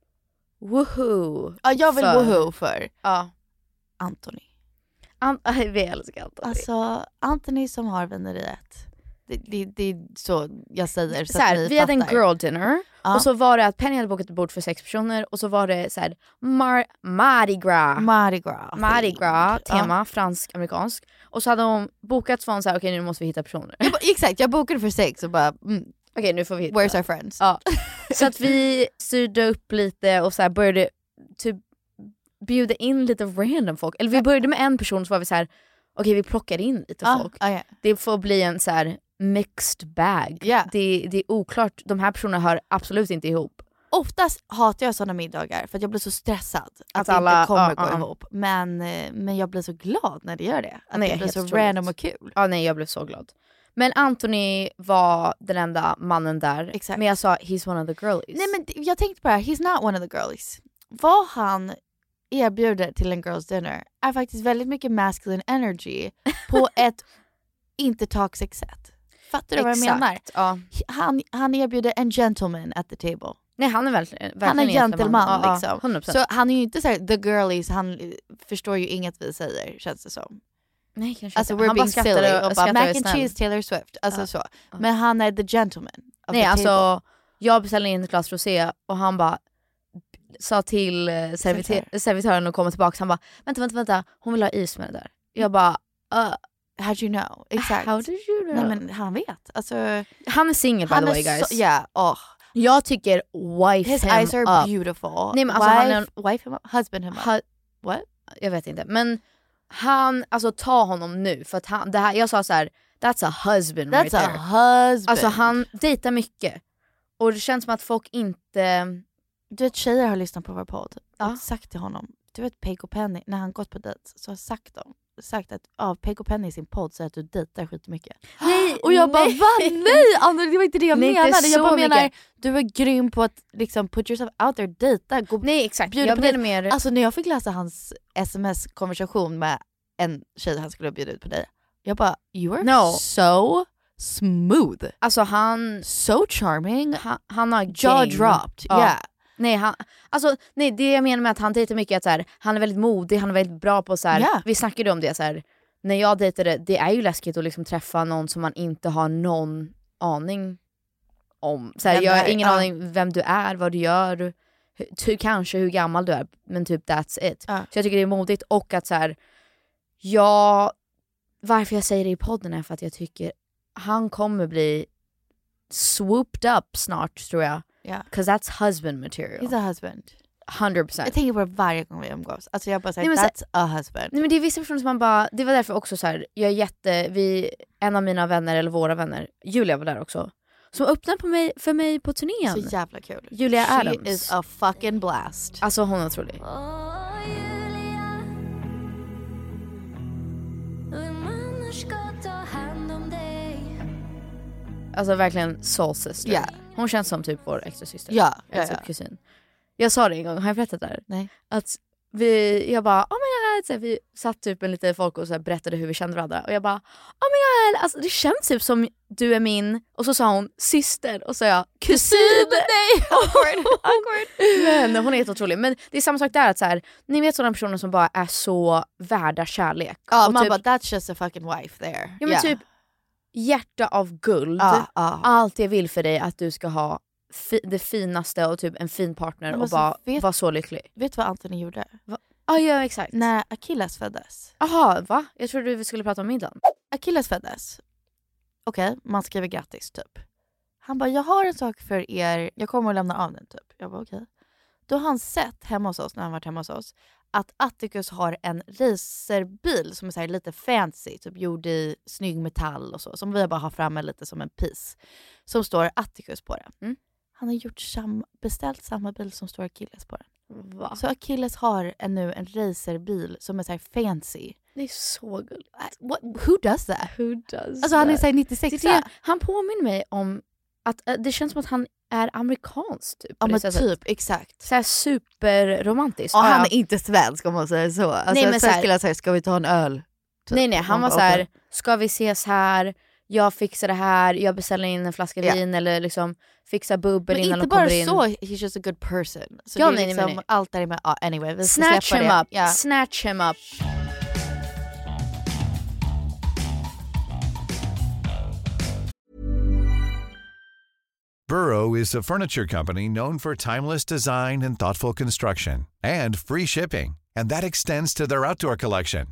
[SPEAKER 1] woohoo.
[SPEAKER 2] Ja jag vill
[SPEAKER 1] för-
[SPEAKER 2] woohoo för
[SPEAKER 1] Ja.
[SPEAKER 2] Anthony.
[SPEAKER 1] An- vi älskar Anton.
[SPEAKER 2] Alltså Anthony som har vineriet. Det, det, det är så jag säger så,
[SPEAKER 1] så här,
[SPEAKER 2] att ni
[SPEAKER 1] vi hade en
[SPEAKER 2] fattar.
[SPEAKER 1] girl dinner
[SPEAKER 2] Ja.
[SPEAKER 1] och så var det att Penny hade bokat ett bord för sex personer och så var det så här, Mar- Mardi Gras.
[SPEAKER 2] Ah. Mardi Gras.
[SPEAKER 1] Mardi Gras
[SPEAKER 2] Ja.
[SPEAKER 1] tema, fransk, amerikansk. Och så hade hon bokat så var hon så här, okej nu måste vi hitta personer.
[SPEAKER 2] Jag bara, exakt, jag bokade för sex och bara mm,
[SPEAKER 1] Okej nu får vi hitta.
[SPEAKER 2] where's our friends?
[SPEAKER 1] Ja. Så att vi styrde upp lite och så här började typ bjuda in lite random folk. Eller vi började med en person så var vi så här, okej vi plockar in lite
[SPEAKER 2] Ah,
[SPEAKER 1] folk.
[SPEAKER 2] ah, ja.
[SPEAKER 1] Det får bli en så här mixed bag.
[SPEAKER 2] Ja.
[SPEAKER 1] Det, det är oklart, de här personerna hör absolut inte ihop.
[SPEAKER 2] Oftast hatar jag sådana middagar för att jag blir så stressad att,
[SPEAKER 1] Att
[SPEAKER 2] det
[SPEAKER 1] alla-
[SPEAKER 2] inte kommer
[SPEAKER 1] ja,
[SPEAKER 2] gå
[SPEAKER 1] ja.
[SPEAKER 2] ihop. Men, eh, men jag blir så glad när det gör det. Att
[SPEAKER 1] Nej,
[SPEAKER 2] det blir
[SPEAKER 1] helt
[SPEAKER 2] så
[SPEAKER 1] otroligt.
[SPEAKER 2] random och kul.
[SPEAKER 1] Ja, nej, jag blev så glad. Men Anthony var den enda mannen där.
[SPEAKER 2] Exakt.
[SPEAKER 1] Men jag sa he's one of the girlies.
[SPEAKER 2] Nej men det- jag tänkte på det här, he's not one of the girlies. Vad han erbjuder till en girls dinner är faktiskt väldigt mycket masculine energy på ett inte toxic sätt. Fattar du vad jag
[SPEAKER 1] Exakt,
[SPEAKER 2] menar?
[SPEAKER 1] Ja.
[SPEAKER 2] Han, han erbjuder en gentleman at the table.
[SPEAKER 1] Nej han är verkligen, verkligen
[SPEAKER 2] Han är
[SPEAKER 1] en
[SPEAKER 2] gentleman
[SPEAKER 1] Ja, ja,
[SPEAKER 2] liksom.
[SPEAKER 1] 100%.
[SPEAKER 2] så han är ju inte såhär the girlies, han eh, förstår ju inget vi säger känns det som.
[SPEAKER 1] nej, kanske
[SPEAKER 2] Alltså
[SPEAKER 1] inte.
[SPEAKER 2] we're
[SPEAKER 1] han bara
[SPEAKER 2] being
[SPEAKER 1] skrattade
[SPEAKER 2] silly och bara
[SPEAKER 1] skrattade
[SPEAKER 2] mac and
[SPEAKER 1] snäll.
[SPEAKER 2] cheese Taylor Swift. Alltså
[SPEAKER 1] Ja,
[SPEAKER 2] så.
[SPEAKER 1] ja.
[SPEAKER 2] Men han är the gentleman. of
[SPEAKER 1] Nej
[SPEAKER 2] the table.
[SPEAKER 1] alltså, jag beställde in ett glas rosé och han bara sa till eh, servitö-
[SPEAKER 2] Servitör.
[SPEAKER 1] servitören att komma tillbaka, han bara vänta vänta vänta, hon vill ha is med det där. Jag bara uh,
[SPEAKER 2] How do you know? Exakt.
[SPEAKER 1] how did you know?
[SPEAKER 2] Nej men han vet. Alltså,
[SPEAKER 1] han är singel by
[SPEAKER 2] han
[SPEAKER 1] the
[SPEAKER 2] är
[SPEAKER 1] way guys.
[SPEAKER 2] så, yeah, oh.
[SPEAKER 1] Jag tycker wife
[SPEAKER 2] His
[SPEAKER 1] him
[SPEAKER 2] eyes are
[SPEAKER 1] up.
[SPEAKER 2] beautiful.
[SPEAKER 1] Nej, men alltså, han
[SPEAKER 2] wife,
[SPEAKER 1] är
[SPEAKER 2] wife him up, husband him up.
[SPEAKER 1] Ha- jag vet inte. Men han, alltså ta honom nu. För att han, det här, jag sa så här: that's a husband
[SPEAKER 2] That's
[SPEAKER 1] Mm, right
[SPEAKER 2] a
[SPEAKER 1] there.
[SPEAKER 2] husband.
[SPEAKER 1] Alltså han dejtar mycket. Och det känns som att folk inte...
[SPEAKER 2] Du vet tjejer har lyssnat på vår podd
[SPEAKER 1] Ja.
[SPEAKER 2] och sagt till honom, du vet Peg och Penny, när han gått på dejt så har sagt dem sagt att av Peg och Penny i sin podd säger att du dejtar skitmycket.
[SPEAKER 1] Nej,
[SPEAKER 2] och jag bara
[SPEAKER 1] nej.
[SPEAKER 2] va? Nej Anna, det var inte det jag
[SPEAKER 1] Nej, inte
[SPEAKER 2] menade. Jag
[SPEAKER 1] så
[SPEAKER 2] bara menar
[SPEAKER 1] mycket.
[SPEAKER 2] du är grym på att liksom put yourself out there, dejta, gå
[SPEAKER 1] Nej exakt,
[SPEAKER 2] bjuda
[SPEAKER 1] jag
[SPEAKER 2] på
[SPEAKER 1] blir
[SPEAKER 2] dejt.
[SPEAKER 1] mer...
[SPEAKER 2] Alltså när jag fick läsa hans sms-konversation med en tjej han skulle bjuda ut på dig. Jag bara you are
[SPEAKER 1] No.
[SPEAKER 2] so smooth,
[SPEAKER 1] Alltså han,
[SPEAKER 2] so charming,
[SPEAKER 1] han, han har
[SPEAKER 2] jaw
[SPEAKER 1] game.
[SPEAKER 2] dropped.
[SPEAKER 1] Ja.
[SPEAKER 2] Yeah.
[SPEAKER 1] Nej, han, alltså, nej, det jag menar med att han dejtar mycket är att så här, han är väldigt modig, han är väldigt bra på så här,
[SPEAKER 2] Ja.
[SPEAKER 1] vi snackade om det så här, när jag dejtade, det är ju läskigt att liksom träffa någon som man inte har någon aning om. Så här, jag har ingen aning vem du är, vad du gör, hur, ty- kanske hur gammal du är, men typ that's it. Så jag tycker det är modigt och att så här, jag, varför jag säger det i podden är för att jag tycker han kommer bli swooped up snart tror jag.
[SPEAKER 2] Ja.
[SPEAKER 1] Cause that's husband material.
[SPEAKER 2] He's a husband.
[SPEAKER 1] 100%.
[SPEAKER 2] Jag tänker på det varje gång vi umgås. Alltså jag bara säger
[SPEAKER 1] Nej, men så-
[SPEAKER 2] that's a husband.
[SPEAKER 1] Nej men det är vissa personer som man bara, det var därför också så här, jag är jätte, vi, en av mina vänner eller våra vänner, Julia var där också, som öppnade på mig, för mig på turnén.
[SPEAKER 2] Så jävla kul.
[SPEAKER 1] Julia
[SPEAKER 2] She
[SPEAKER 1] Adams.
[SPEAKER 2] is a fucking blast.
[SPEAKER 1] Alltså hon är otrolig. Alltså verkligen soul sister.
[SPEAKER 2] Ja.
[SPEAKER 1] Hon känns som typ vår extra syster.
[SPEAKER 2] Ja,
[SPEAKER 1] Eller
[SPEAKER 2] ja,
[SPEAKER 1] typ
[SPEAKER 2] ja.
[SPEAKER 1] kusin. Jag sa det en gång, har jag berättat det här?
[SPEAKER 2] Nej.
[SPEAKER 1] Att vi, jag bara oh my god, så här, vi satt typ med lite folk och så här, berättade hur vi kände varandra och jag bara oh my god, alltså, det känns typ som du är min, och så sa hon syster och så sa jag kusin!
[SPEAKER 2] Nej, awkward, awkward.
[SPEAKER 1] Men hon är helt otrolig. Men det är samma sak där, att så här, ni vet sådana personer som bara är så värda kärlek.
[SPEAKER 2] Ja,
[SPEAKER 1] Och
[SPEAKER 2] man
[SPEAKER 1] typ-
[SPEAKER 2] bara that's just a fucking wife there.
[SPEAKER 1] Ja men typ hjärta av guld.
[SPEAKER 2] Ja, ja.
[SPEAKER 1] Allt jag vill för dig att du ska ha fi- det finaste och typ en fin partner
[SPEAKER 2] Ja, men
[SPEAKER 1] och
[SPEAKER 2] så
[SPEAKER 1] bara
[SPEAKER 2] vet-
[SPEAKER 1] vara så lycklig.
[SPEAKER 2] Vet du vad Anthony gjorde?
[SPEAKER 1] Ja, ja exakt.
[SPEAKER 2] När Achilles föddes.
[SPEAKER 1] Jaha, va? Jag trodde vi skulle prata om middagen.
[SPEAKER 2] Achilles föddes. Okej, man skriver grattis typ. Han bara, jag har en sak för er, jag kommer att lämna av den typ. Jag bara okej. Då har han sett hemma hos oss, när han varit hemma hos oss, att Atticus har en racerbil som är så här lite fancy, typ gjord i snygg metall och så, som vi bara har framme lite som en piece. Som står Atticus på den.
[SPEAKER 1] Mm.
[SPEAKER 2] Han har gjort sam- beställt samma bil som står Achilles på den.
[SPEAKER 1] Va?
[SPEAKER 2] Så Achilles har en, nu en racerbil som är så här fancy.
[SPEAKER 1] Det är så gulligt.
[SPEAKER 2] What, who does that?
[SPEAKER 1] Äh, Who does
[SPEAKER 2] Alltså han är
[SPEAKER 1] that?
[SPEAKER 2] såhär
[SPEAKER 1] Det
[SPEAKER 2] 96
[SPEAKER 1] är det, han påminner mig om att eh, det känns som att han är amerikansk typ. på
[SPEAKER 2] Ja
[SPEAKER 1] det
[SPEAKER 2] men
[SPEAKER 1] sättet.
[SPEAKER 2] typ, exakt.
[SPEAKER 1] Så här superromantisk.
[SPEAKER 2] Ja,
[SPEAKER 1] Ja,
[SPEAKER 2] han
[SPEAKER 1] ja.
[SPEAKER 2] är inte svensk om man säger så. Alltså,
[SPEAKER 1] Nej, men
[SPEAKER 2] svensk
[SPEAKER 1] så här-
[SPEAKER 2] skulle jag säga, ska vi ta en öl? Typ.
[SPEAKER 1] Nej nej, han
[SPEAKER 2] Man
[SPEAKER 1] var
[SPEAKER 2] bara,
[SPEAKER 1] så här,
[SPEAKER 2] okej.
[SPEAKER 1] ska vi ses här? Jag fixar det här, jag beställer in en flaska
[SPEAKER 2] Ja.
[SPEAKER 1] vin eller liksom fixar bubbel
[SPEAKER 2] Men
[SPEAKER 1] innan
[SPEAKER 2] inte
[SPEAKER 1] de kommer
[SPEAKER 2] bara
[SPEAKER 1] in.
[SPEAKER 2] så, he's just a good person. Så
[SPEAKER 1] Ja,
[SPEAKER 2] det är
[SPEAKER 1] nej, nej,
[SPEAKER 2] liksom
[SPEAKER 1] nej.
[SPEAKER 2] allt där med, ja, anyway vi ska
[SPEAKER 1] Snatch
[SPEAKER 2] släppa
[SPEAKER 1] him
[SPEAKER 2] det.
[SPEAKER 1] up,
[SPEAKER 2] Ja.
[SPEAKER 1] snatch him up.
[SPEAKER 6] Burrow is a furniture company known for timeless design and thoughtful construction and free shipping, and that extends to their outdoor collection.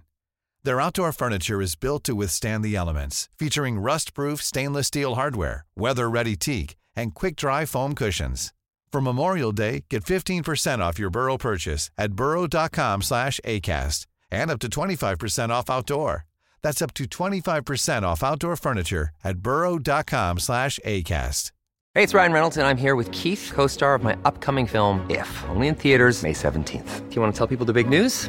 [SPEAKER 6] Their outdoor furniture is built to withstand the elements, featuring rust-proof stainless steel hardware, weather-ready teak, and quick-dry foam cushions. For Memorial Day, get 15% off your Burrow purchase at burrow.com/acast and up to 25% off outdoor. That's up to 25% off outdoor furniture at burrow.com/acast.
[SPEAKER 7] Hey, it's Ryan Reynolds, and I'm here with Keith, co star of my upcoming film, If, only in theaters, May 17th. Do you want to tell people the big news?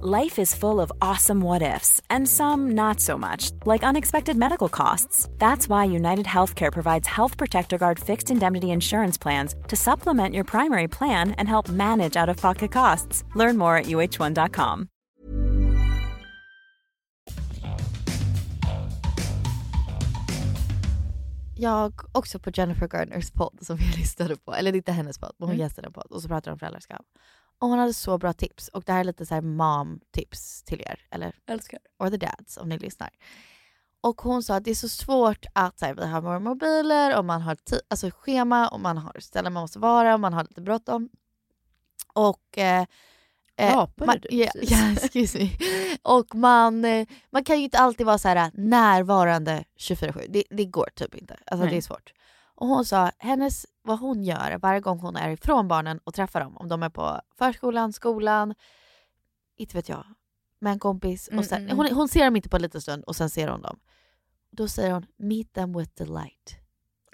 [SPEAKER 8] Life is full of awesome what ifs and some not so much, like unexpected medical costs. That's why United Healthcare provides Health Protector Guard fixed indemnity insurance plans to supplement your primary plan and help manage out of pocket costs. Learn more at uh1.com.
[SPEAKER 2] Jag också på Jennifer Gardners podd som jag lyssnade på, eller det är inte hennes podd men hon
[SPEAKER 1] Mm.
[SPEAKER 2] gästade en podd och så pratade de om föräldraskap. Och hon hade så bra tips. Och det här är lite så här mom-tips till er. Eller?
[SPEAKER 9] Älskar.
[SPEAKER 2] Or the dads om ni lyssnar. Och hon sa att det är så svårt att så här, vi har våra mobiler och man har ti- alltså, schema och man har ställen man måste vara och man har lite bråttom. Och eh,
[SPEAKER 1] Rapade
[SPEAKER 2] man,
[SPEAKER 1] du
[SPEAKER 2] ja,
[SPEAKER 1] precis?
[SPEAKER 2] ja, excuse me. Och man, eh, man kan ju inte alltid vara så här närvarande 24-7. Det, det går typ inte. Alltså
[SPEAKER 1] Nej.
[SPEAKER 2] det är svårt. Och hon sa hennes, vad hon gör varje gång hon är ifrån barnen och träffar dem, om de är på förskolan, skolan, inte vet jag, med en kompis. Och
[SPEAKER 1] Mm,
[SPEAKER 2] sen,
[SPEAKER 1] mm,
[SPEAKER 2] hon,
[SPEAKER 1] mm.
[SPEAKER 2] hon ser dem inte på en liten stund och sen ser hon dem. Då säger hon “meet them with delight”.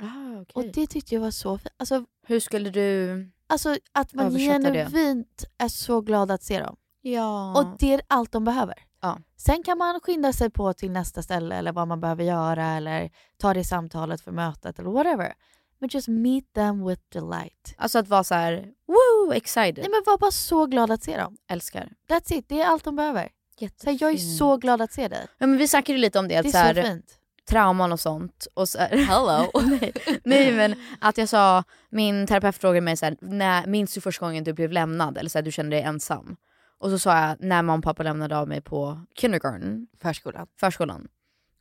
[SPEAKER 1] Ah,
[SPEAKER 2] Och
[SPEAKER 1] okej.
[SPEAKER 2] det tyckte jag var så fint. Alltså,
[SPEAKER 1] Hur skulle du...
[SPEAKER 2] alltså att man
[SPEAKER 1] Översätta det.
[SPEAKER 2] genuint är så glad att se dem.
[SPEAKER 1] Ja.
[SPEAKER 2] Och det är allt de behöver.
[SPEAKER 1] Ja.
[SPEAKER 2] Sen kan man skynda sig på till nästa ställe eller vad man behöver göra eller ta det samtalet för mötet eller whatever. Men just meet them with delight.
[SPEAKER 1] Alltså att vara så här, woo, excited.
[SPEAKER 2] Nej men var bara så glad att se dem.
[SPEAKER 1] Älskar.
[SPEAKER 2] That's it, det är allt de behöver. Så här, jag är så glad att se dig.
[SPEAKER 1] Ja, men vi snackade ju lite om det,
[SPEAKER 2] Det är
[SPEAKER 1] att så här,
[SPEAKER 2] så fint.
[SPEAKER 1] trauman och sånt. Och så här, Hello! nej, nej men att jag sa, min terapeut frågade mig så här, när, minns du första gången du blev lämnad? Eller så här, du kände dig ensam? Och så sa jag, när mamma och pappa lämnade av mig på kindergarten.
[SPEAKER 2] Förskolan.
[SPEAKER 1] Förskolan.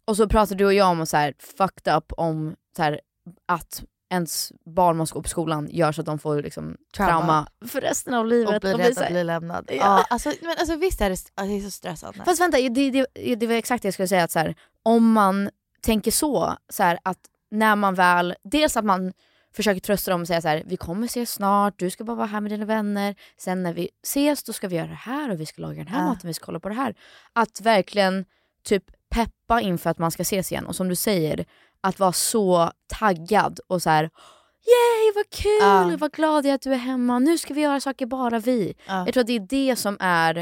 [SPEAKER 1] Och så pratade du och jag om och så här, fucked up om så här, att ens barn måste gå på skolan gör så att de får liksom, trauma.
[SPEAKER 2] Trauma.
[SPEAKER 1] för resten av
[SPEAKER 2] Och
[SPEAKER 1] livet.
[SPEAKER 2] bli
[SPEAKER 1] Och blir
[SPEAKER 2] rädd
[SPEAKER 1] så här-
[SPEAKER 2] att bli lämnad.
[SPEAKER 1] Ja.
[SPEAKER 2] Ja. alltså, men alltså, visst är det, st- alltså, det är så stressande.
[SPEAKER 1] Fast vänta, det, det, det var exakt det jag skulle säga. Att så här, om man tänker så, så här, att när man väl... Dels att man försöker trösta dem och säga så här, vi kommer ses snart, du ska bara vara här med dina vänner. Sen när vi ses då ska vi göra det här och vi ska laga den här
[SPEAKER 2] Ja.
[SPEAKER 1] maten, vi ska kolla på det här. Att verkligen typ peppa inför att man ska ses igen. Och som du säger, att vara så taggad och så här, yay vad kul,
[SPEAKER 2] Ja.
[SPEAKER 1] vad glad jag är att du är hemma, nu ska vi göra saker bara vi.
[SPEAKER 2] Ja.
[SPEAKER 1] Jag tror att det är det som är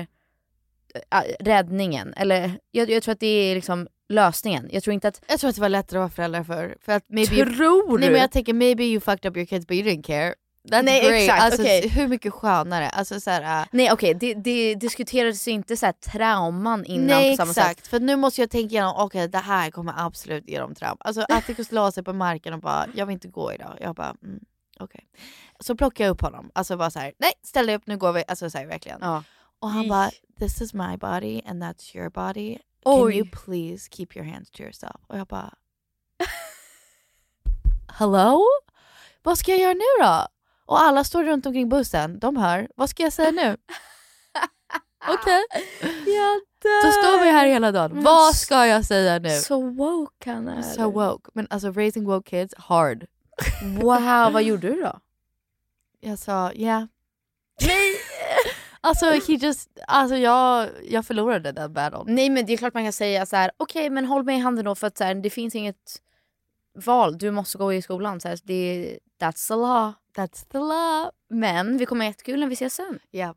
[SPEAKER 1] äh, räddningen. Eller jag, jag tror att det är liksom lösningen. Jag tror inte att...
[SPEAKER 2] Jag tror att det var lättare att vara förälder för, för att maybe
[SPEAKER 1] Tror
[SPEAKER 2] Nej
[SPEAKER 1] du?
[SPEAKER 2] men jag tänker maybe you fucked up your kids but you didn't care. That's
[SPEAKER 1] Nej,
[SPEAKER 2] great.
[SPEAKER 1] exakt,
[SPEAKER 2] alltså,
[SPEAKER 1] okej.
[SPEAKER 2] Hur mycket skönare. Alltså, så här, äh,
[SPEAKER 1] Nej okej, det, det diskuterades ju inte så här trauman innan
[SPEAKER 2] nej
[SPEAKER 1] på samma
[SPEAKER 2] exakt,
[SPEAKER 1] sätt.
[SPEAKER 2] för nu måste jag tänka igenom, okej det här kommer absolut ge dem trauma. Alltså Atticus la sig på marken och bara, jag vill inte gå idag. Jag bara, mm, okej. Så plockade jag upp honom, alltså bara så här, nej ställ dig upp nu går vi. Alltså så här, verkligen.
[SPEAKER 1] Ja.
[SPEAKER 2] Och han
[SPEAKER 1] Ish.
[SPEAKER 2] bara, this is my body and that's your body. Can
[SPEAKER 1] Oj.
[SPEAKER 2] you please keep your hands to yourself? Och jag bara, hello? Vad ska jag göra nu då? Och alla står runt omkring bussen, de hör, vad ska jag säga nu? Okej, då står vi här hela dagen.
[SPEAKER 1] Men
[SPEAKER 2] Vad
[SPEAKER 1] s-
[SPEAKER 2] ska jag säga nu?
[SPEAKER 1] Så woke han är.
[SPEAKER 2] So woke. Men alltså raising woke kids, hard.
[SPEAKER 1] Wow, vad gjorde du då?
[SPEAKER 2] Jag sa yeah. Nej! alltså, he just, alltså jag, jag förlorade den battlen.
[SPEAKER 1] Nej men det är klart man kan säga så här: okej men håll mig i handen då för att så här, det finns inget val, du måste gå i skolan. Så här, det, that's the law.
[SPEAKER 2] That's the law.
[SPEAKER 1] Men vi kommer ha jättekul när vi ses sen.
[SPEAKER 2] Yeah.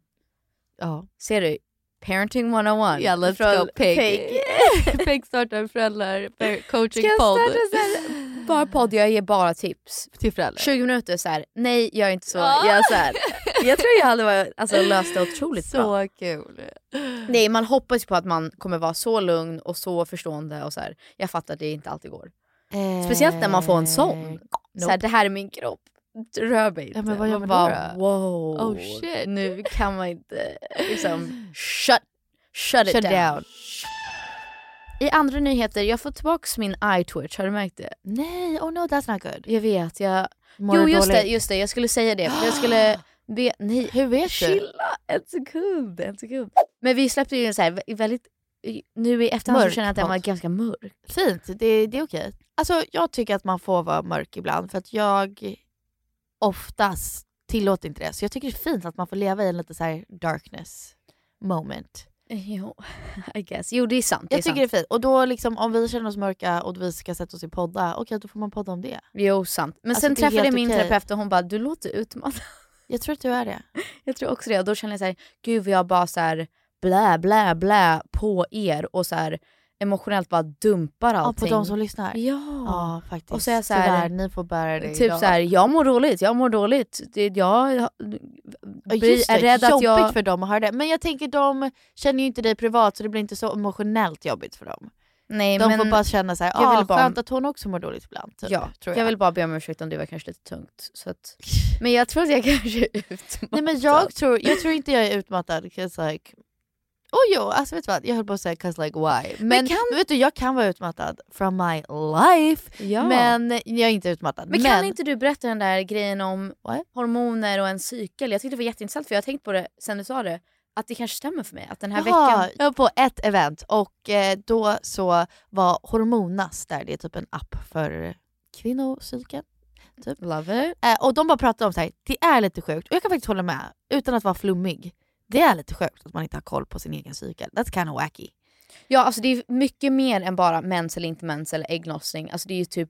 [SPEAKER 2] Ja.
[SPEAKER 1] Ser du? Parenting 101.
[SPEAKER 2] Yeah, let's
[SPEAKER 1] Från
[SPEAKER 2] go pig.
[SPEAKER 1] Peg.
[SPEAKER 2] Peg startar en föräldrar per- coaching
[SPEAKER 1] Ska jag
[SPEAKER 2] podd.
[SPEAKER 1] starta så här, bara podd, jag ger bara tips.
[SPEAKER 2] Till föräldrar.
[SPEAKER 1] 20 minuter så här. nej gör inte så.
[SPEAKER 2] Ja.
[SPEAKER 1] Gör så här. Jag tror jag hade varit, alltså, löst det otroligt
[SPEAKER 2] så
[SPEAKER 1] bra.
[SPEAKER 2] kul.
[SPEAKER 1] Nej man hoppas ju på att man kommer vara så lugn och så förstående och så här. jag fattar att det inte alltid går. Speciellt när man får en sån.
[SPEAKER 2] Eh,
[SPEAKER 1] Så här, det här är min kropp. Rör mig inte.
[SPEAKER 2] Ja, men vad gör
[SPEAKER 1] Man
[SPEAKER 2] man
[SPEAKER 1] bara,
[SPEAKER 2] då?
[SPEAKER 1] wow.
[SPEAKER 2] Oh, shit.
[SPEAKER 1] Nu kan man inte liksom shut, shut,
[SPEAKER 2] Shut
[SPEAKER 1] it down.
[SPEAKER 2] down.
[SPEAKER 1] I andra nyheter, jag får tillbaks min eye twitch, har du märkt det?
[SPEAKER 2] Nej, oh no that's not good.
[SPEAKER 1] Jag vet, jag...
[SPEAKER 2] Mår
[SPEAKER 1] jo
[SPEAKER 2] du
[SPEAKER 1] just det,
[SPEAKER 2] dåligt?
[SPEAKER 1] just det, jag skulle säga det. Jag skulle be... Nej,
[SPEAKER 2] Hur vet du?
[SPEAKER 1] chilla en sekund, en sekund. Men vi släppte ju en så här vä- väldigt... Nu i efterhand
[SPEAKER 2] Mörk
[SPEAKER 1] så känner jag att den var
[SPEAKER 2] podd.
[SPEAKER 1] ganska mörk.
[SPEAKER 2] Fint, det, det är okej. Alltså jag tycker att man får vara mörk ibland för att jag oftast tillåter inte det. Så jag tycker det är fint att man får leva i en lite så här darkness moment.
[SPEAKER 1] Jo, I guess. Jo det är sant.
[SPEAKER 2] Jag
[SPEAKER 1] det är
[SPEAKER 2] tycker
[SPEAKER 1] sant.
[SPEAKER 2] det är fint. Och då liksom om vi känner oss mörka och vi ska sätta oss i podda, okej då får man podda om det.
[SPEAKER 1] Jo, sant. Men
[SPEAKER 2] Alltså,
[SPEAKER 1] sen
[SPEAKER 2] det är
[SPEAKER 1] träffade jag
[SPEAKER 2] helt
[SPEAKER 1] min
[SPEAKER 2] okej.
[SPEAKER 1] terapeut och hon bara, du låter utmanad.
[SPEAKER 2] Jag tror att du är det.
[SPEAKER 1] Jag tror också det. Och då kände jag så här, gud vad jag bara så här blä, blä, blä på er och så här emotionellt bara dumpar
[SPEAKER 2] Ja,
[SPEAKER 1] allting.
[SPEAKER 2] på de som lyssnar.
[SPEAKER 1] Ja.
[SPEAKER 2] Ja faktiskt.
[SPEAKER 1] Och så är jag så här-
[SPEAKER 2] Tyvärr, ni får bära det
[SPEAKER 1] Typ
[SPEAKER 2] idag.
[SPEAKER 1] så här, jag mår dåligt, jag mår dåligt. Det, jag
[SPEAKER 2] Ja,
[SPEAKER 1] blir,
[SPEAKER 2] just det,
[SPEAKER 1] är rädd att
[SPEAKER 2] jobbigt
[SPEAKER 1] jag...
[SPEAKER 2] för dem att höra det. Men jag tänker de känner ju inte dig privat så det blir inte så emotionellt jobbigt för dem. Nej, de men... får bara känna så här, jag vill bara... skönt att hon också mår dåligt ibland. Typ,
[SPEAKER 1] ja, tror jag. jag vill bara be om ursäkt om det var kanske lite tungt. Så att... Men jag tror att jag kanske är utmattad.
[SPEAKER 2] Nej, men jag, tror, jag tror inte jag är utmattad. Cause like, oh, jo, alltså vet du vad, jag höll på att säga 'cause like why. Men, men kan... vet du, jag kan vara utmattad from my life. Ja. Men jag är inte utmattad.
[SPEAKER 1] Men, men, kan inte du berätta den där grejen om what? hormoner och en cykel? Jag tyckte det var jätteintressant för jag har tänkt på det sen du sa det att det kanske stämmer för mig att den här Jaha, veckan...
[SPEAKER 2] jag var på ett event och eh, då så var Hormonas där, det är typ en app för kvinnopsyken. Typ.
[SPEAKER 1] Love it.
[SPEAKER 2] Eh, och de bara pratade om så här, det är lite sjukt och jag kan faktiskt hålla med utan att vara flummig. Det är lite sjukt att man inte har koll på sin egen cykel. That's kind of wacky.
[SPEAKER 1] Ja, alltså det är mycket mer än bara mens eller inte mens eller ägglossning. Alltså det är ju typ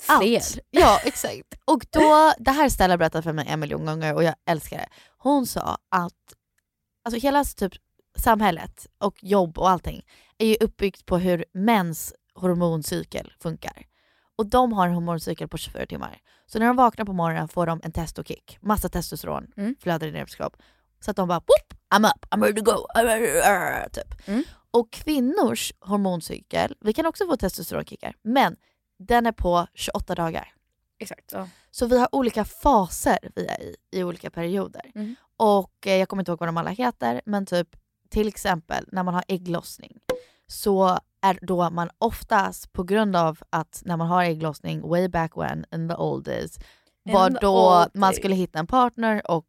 [SPEAKER 1] fler. Allt.
[SPEAKER 2] Ja, exakt. och då, det här Stella berättat för mig en miljon gånger och jag älskar det. Hon sa att alltså hela typ samhället och jobb och allting är ju uppbyggt på hur mäns hormoncykel funkar. Och de har en hormoncykel på 24 timmar. Så när de vaknar på morgonen får de en testokick, massa testosteron mm. flödar i deras kropp. Så att de bara Whoop, I'm up, I'm ready to go, typ. Mm. Och kvinnors hormoncykel, vi kan också få testosteronkickar, men den är på 28 dagar.
[SPEAKER 1] Exakt. Ja.
[SPEAKER 2] Så vi har olika faser vi är i, i olika perioder. Mm. Och eh, jag kommer inte ihåg vad de alla heter, men typ till exempel när man har ägglossning så är då man oftast på grund av att när man har ägglossning way back when in the old days var då man skulle hitta en partner och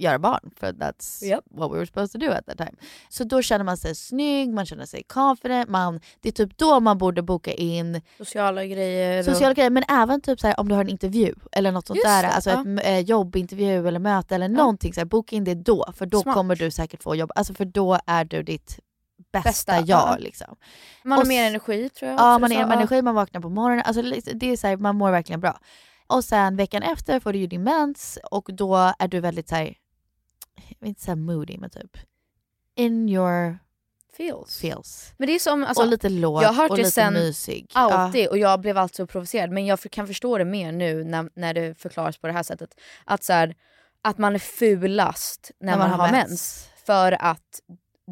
[SPEAKER 2] göra barn för that's yep. what we were supposed to do at that time. Så då känner man sig snygg, man känner sig confident, man, det är typ då man borde boka in
[SPEAKER 1] sociala grejer.
[SPEAKER 2] Sociala och... grejer men även typ så här, om du har en intervju eller något sånt Just där, det, alltså ja. ett eh, jobbintervju eller möte eller ja. någonting, så här, boka in det då för då Smart. kommer du säkert få jobb, alltså för då är du ditt bästa, bästa jag. Ja. Liksom.
[SPEAKER 1] Man och, har mer energi tror jag. Liksom,
[SPEAKER 2] Ja, man har mer energi, man vaknar på morgonen, alltså, det är så här, man mår verkligen bra. Och sen veckan efter får du ju din mens och då är du väldigt så här, jag vill inte säga moody men typ in your
[SPEAKER 1] feels.
[SPEAKER 2] feels.
[SPEAKER 1] Men det är som, alltså,
[SPEAKER 2] och lite låg
[SPEAKER 1] jag har hört
[SPEAKER 2] och
[SPEAKER 1] det
[SPEAKER 2] lite
[SPEAKER 1] sen
[SPEAKER 2] mysig.
[SPEAKER 1] Alltid ja. och jag blev alltid så provocerad men jag kan förstå det mer nu när, när det förklaras på det här sättet. Att, så här, att man är fulast när, när man, man, har mens. mens. För att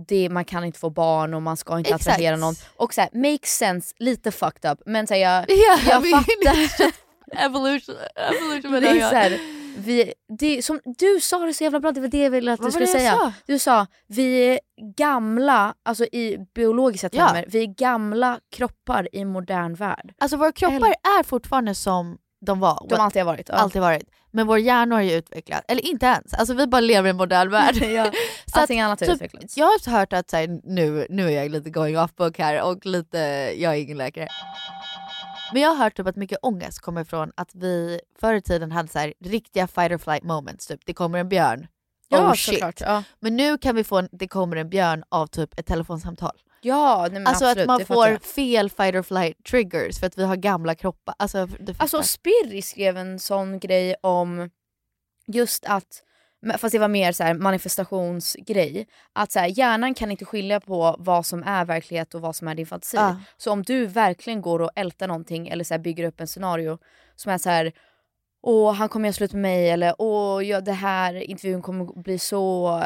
[SPEAKER 1] det, man kan inte få barn och man ska inte Exakt. attrahera någon. Och så här, makes sense, lite fucked up men så här, jag,
[SPEAKER 2] yeah,
[SPEAKER 1] jag fattar.
[SPEAKER 2] evolution, evolution
[SPEAKER 1] det är så här, vi, det, som, Du sa det så jävla bra, det var det jag ville att Vad du skulle säga. Sa? Du sa vi är gamla, alltså i biologiska termer, ja. vi är gamla kroppar i modern värld.
[SPEAKER 2] Alltså våra kroppar eller? är fortfarande som de var.
[SPEAKER 1] De alltid har varit. Ja.
[SPEAKER 2] Alltid varit. Men vår hjärna har ju utvecklats, eller inte ens, alltså vi bara lever i en modern värld.
[SPEAKER 1] ja.
[SPEAKER 2] så
[SPEAKER 1] Allting annat har typ, utvecklats.
[SPEAKER 2] Jag har hört att så här, nu, nu är jag lite going off book här och lite, jag är ingen läkare. Men jag har hört typ att mycket ångest kommer från att vi förr i tiden hade så här, riktiga fight or flight moments. Typ. Det kommer en björn.
[SPEAKER 1] Ja,
[SPEAKER 2] oh
[SPEAKER 1] shit. Klart, ja.
[SPEAKER 2] Men nu kan vi få en, det kommer en björn av typ ett telefonsamtal.
[SPEAKER 1] Ja, nej
[SPEAKER 2] alltså
[SPEAKER 1] absolut,
[SPEAKER 2] att man får fel fight or flight triggers för att vi har gamla kroppar. Alltså,
[SPEAKER 1] alltså Spirri skrev en sån grej om just att Fast det var mer så manifestationsgrej. Att så här, hjärnan kan inte skilja på vad som är verklighet och vad som är din fantasi. Uh. Så om du verkligen går och ältar någonting eller så här, bygger upp en scenario som är så här, Åh, han kommer göra slut med mig eller åh, ja, det här intervjun kommer bli så...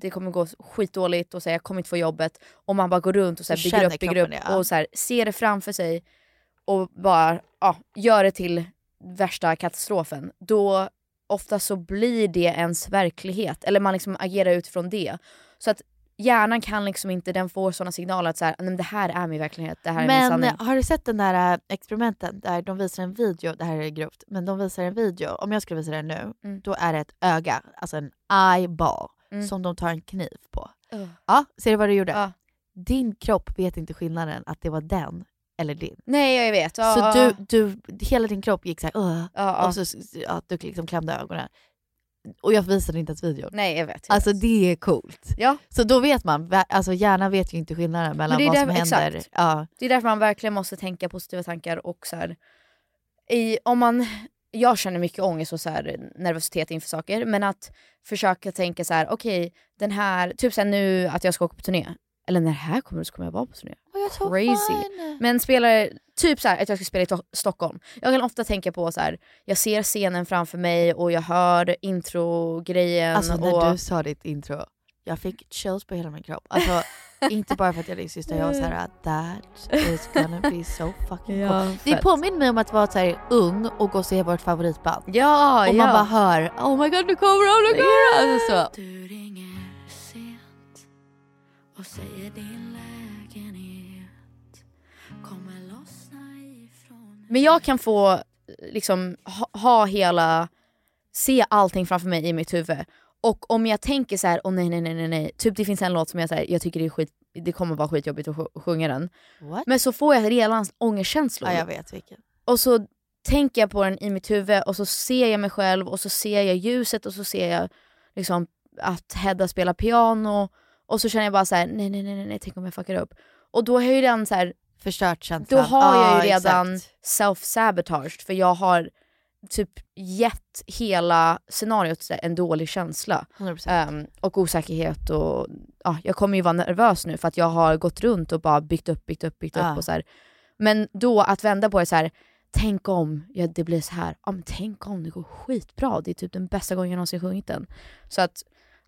[SPEAKER 1] Det kommer gå skitdåligt och så här, jag kommer inte få jobbet. Och man bara går runt och så här, bygger upp, bygger upp ja. och så här, ser det framför sig och bara ja, gör det till värsta katastrofen. Då ofta så blir det ens verklighet. Eller man liksom agerar utifrån det. Så att hjärnan kan liksom inte, den får sådana signaler att så här, Nej, det här är min verklighet, det här är
[SPEAKER 2] men,
[SPEAKER 1] min sanning.
[SPEAKER 2] Men har du sett den där eh, experimenten där de visar en video, det här är grovt, men de visar en video, om jag skulle visa den nu, mm. då är det ett öga, alltså en eyeball, mm. som de tar en kniv på. Uh. Ja, ser du vad du gjorde? Uh. Din kropp vet inte skillnaden att det var den eller din.
[SPEAKER 1] Nej jag vet.
[SPEAKER 2] så uh, du, du, hela din kropp gick såhär uh, uh, och så ja, du liksom klämde ögonen. Och jag visade inte ens videon.
[SPEAKER 1] Nej jag vet.
[SPEAKER 2] Jag alltså vet. det är coolt.
[SPEAKER 1] Ja.
[SPEAKER 2] Så då vet man, alltså hjärnan vet ju inte skillnaden mellan vad som
[SPEAKER 1] därför,
[SPEAKER 2] händer.
[SPEAKER 1] Exakt. Ja. Det är därför man verkligen måste tänka positiva tankar och så här, i, om man, jag känner mycket ångest och så här, nervositet inför saker men att försöka tänka så här: okej okay, den här, typ sen nu att jag ska åka på turné. Eller när det här kommer så kommer jag vara på turné.
[SPEAKER 2] Oh,
[SPEAKER 1] Crazy. Men spelar, typ så här, att jag ska spela i Stockholm. Jag kan ofta tänka på så här, jag ser scenen framför mig och jag hör introgrejen.
[SPEAKER 2] Alltså när
[SPEAKER 1] och...
[SPEAKER 2] du sa ditt intro, jag fick chills på hela min kropp. Alltså, Inte bara för att jag är din syster, jag var såhär that is gonna be so fucking
[SPEAKER 1] Ja,
[SPEAKER 2] cool. Det
[SPEAKER 1] fett.
[SPEAKER 2] påminner mig om att vara såhär ung och gå och se vårt favoritband.
[SPEAKER 1] Ja,
[SPEAKER 2] och man
[SPEAKER 1] ja.
[SPEAKER 2] bara hör oh my god nu kommer de, nu kommer de! Alltså så.
[SPEAKER 3] Du ringer sent och säger din lägenhet kommer lossna ifrån
[SPEAKER 1] Men jag kan få liksom ha, ha hela, se allting framför mig i mitt huvud. Och om jag tänker så här, åh nej nej nej nej nej, typ det finns en låt som jag säger, jag tycker det är skit, det kommer vara skitjobbigt att sj- sjunga den.
[SPEAKER 2] What?
[SPEAKER 1] Men så får jag redan ångestkänslor.
[SPEAKER 2] Ja jag vet vilken.
[SPEAKER 1] Och så tänker jag på den i mitt huvud och så ser jag mig själv och så ser jag ljuset och så ser jag liksom att Hedda spelar piano och så känner jag bara så här: nej nej nej nej, nej tänk om jag fuckar upp. Och då har jag ju den så här,
[SPEAKER 2] Förstört känslan.
[SPEAKER 1] då har jag ju
[SPEAKER 2] Ja,
[SPEAKER 1] redan
[SPEAKER 2] exakt.
[SPEAKER 1] self-sabotaged för jag har typ gett hela scenariot så här en dålig känsla.
[SPEAKER 2] 100%.
[SPEAKER 1] Ehm, och osäkerhet och ja, jag kommer ju vara nervös nu för att jag har gått runt och bara byggt upp, byggt upp, byggt
[SPEAKER 2] Ja.
[SPEAKER 1] upp och så här. Men då att vända på det så här. tänk om ja, det blir så här. ja men tänk om det går skitbra, det är typ den bästa gången jag någonsin sjungit den. Så att,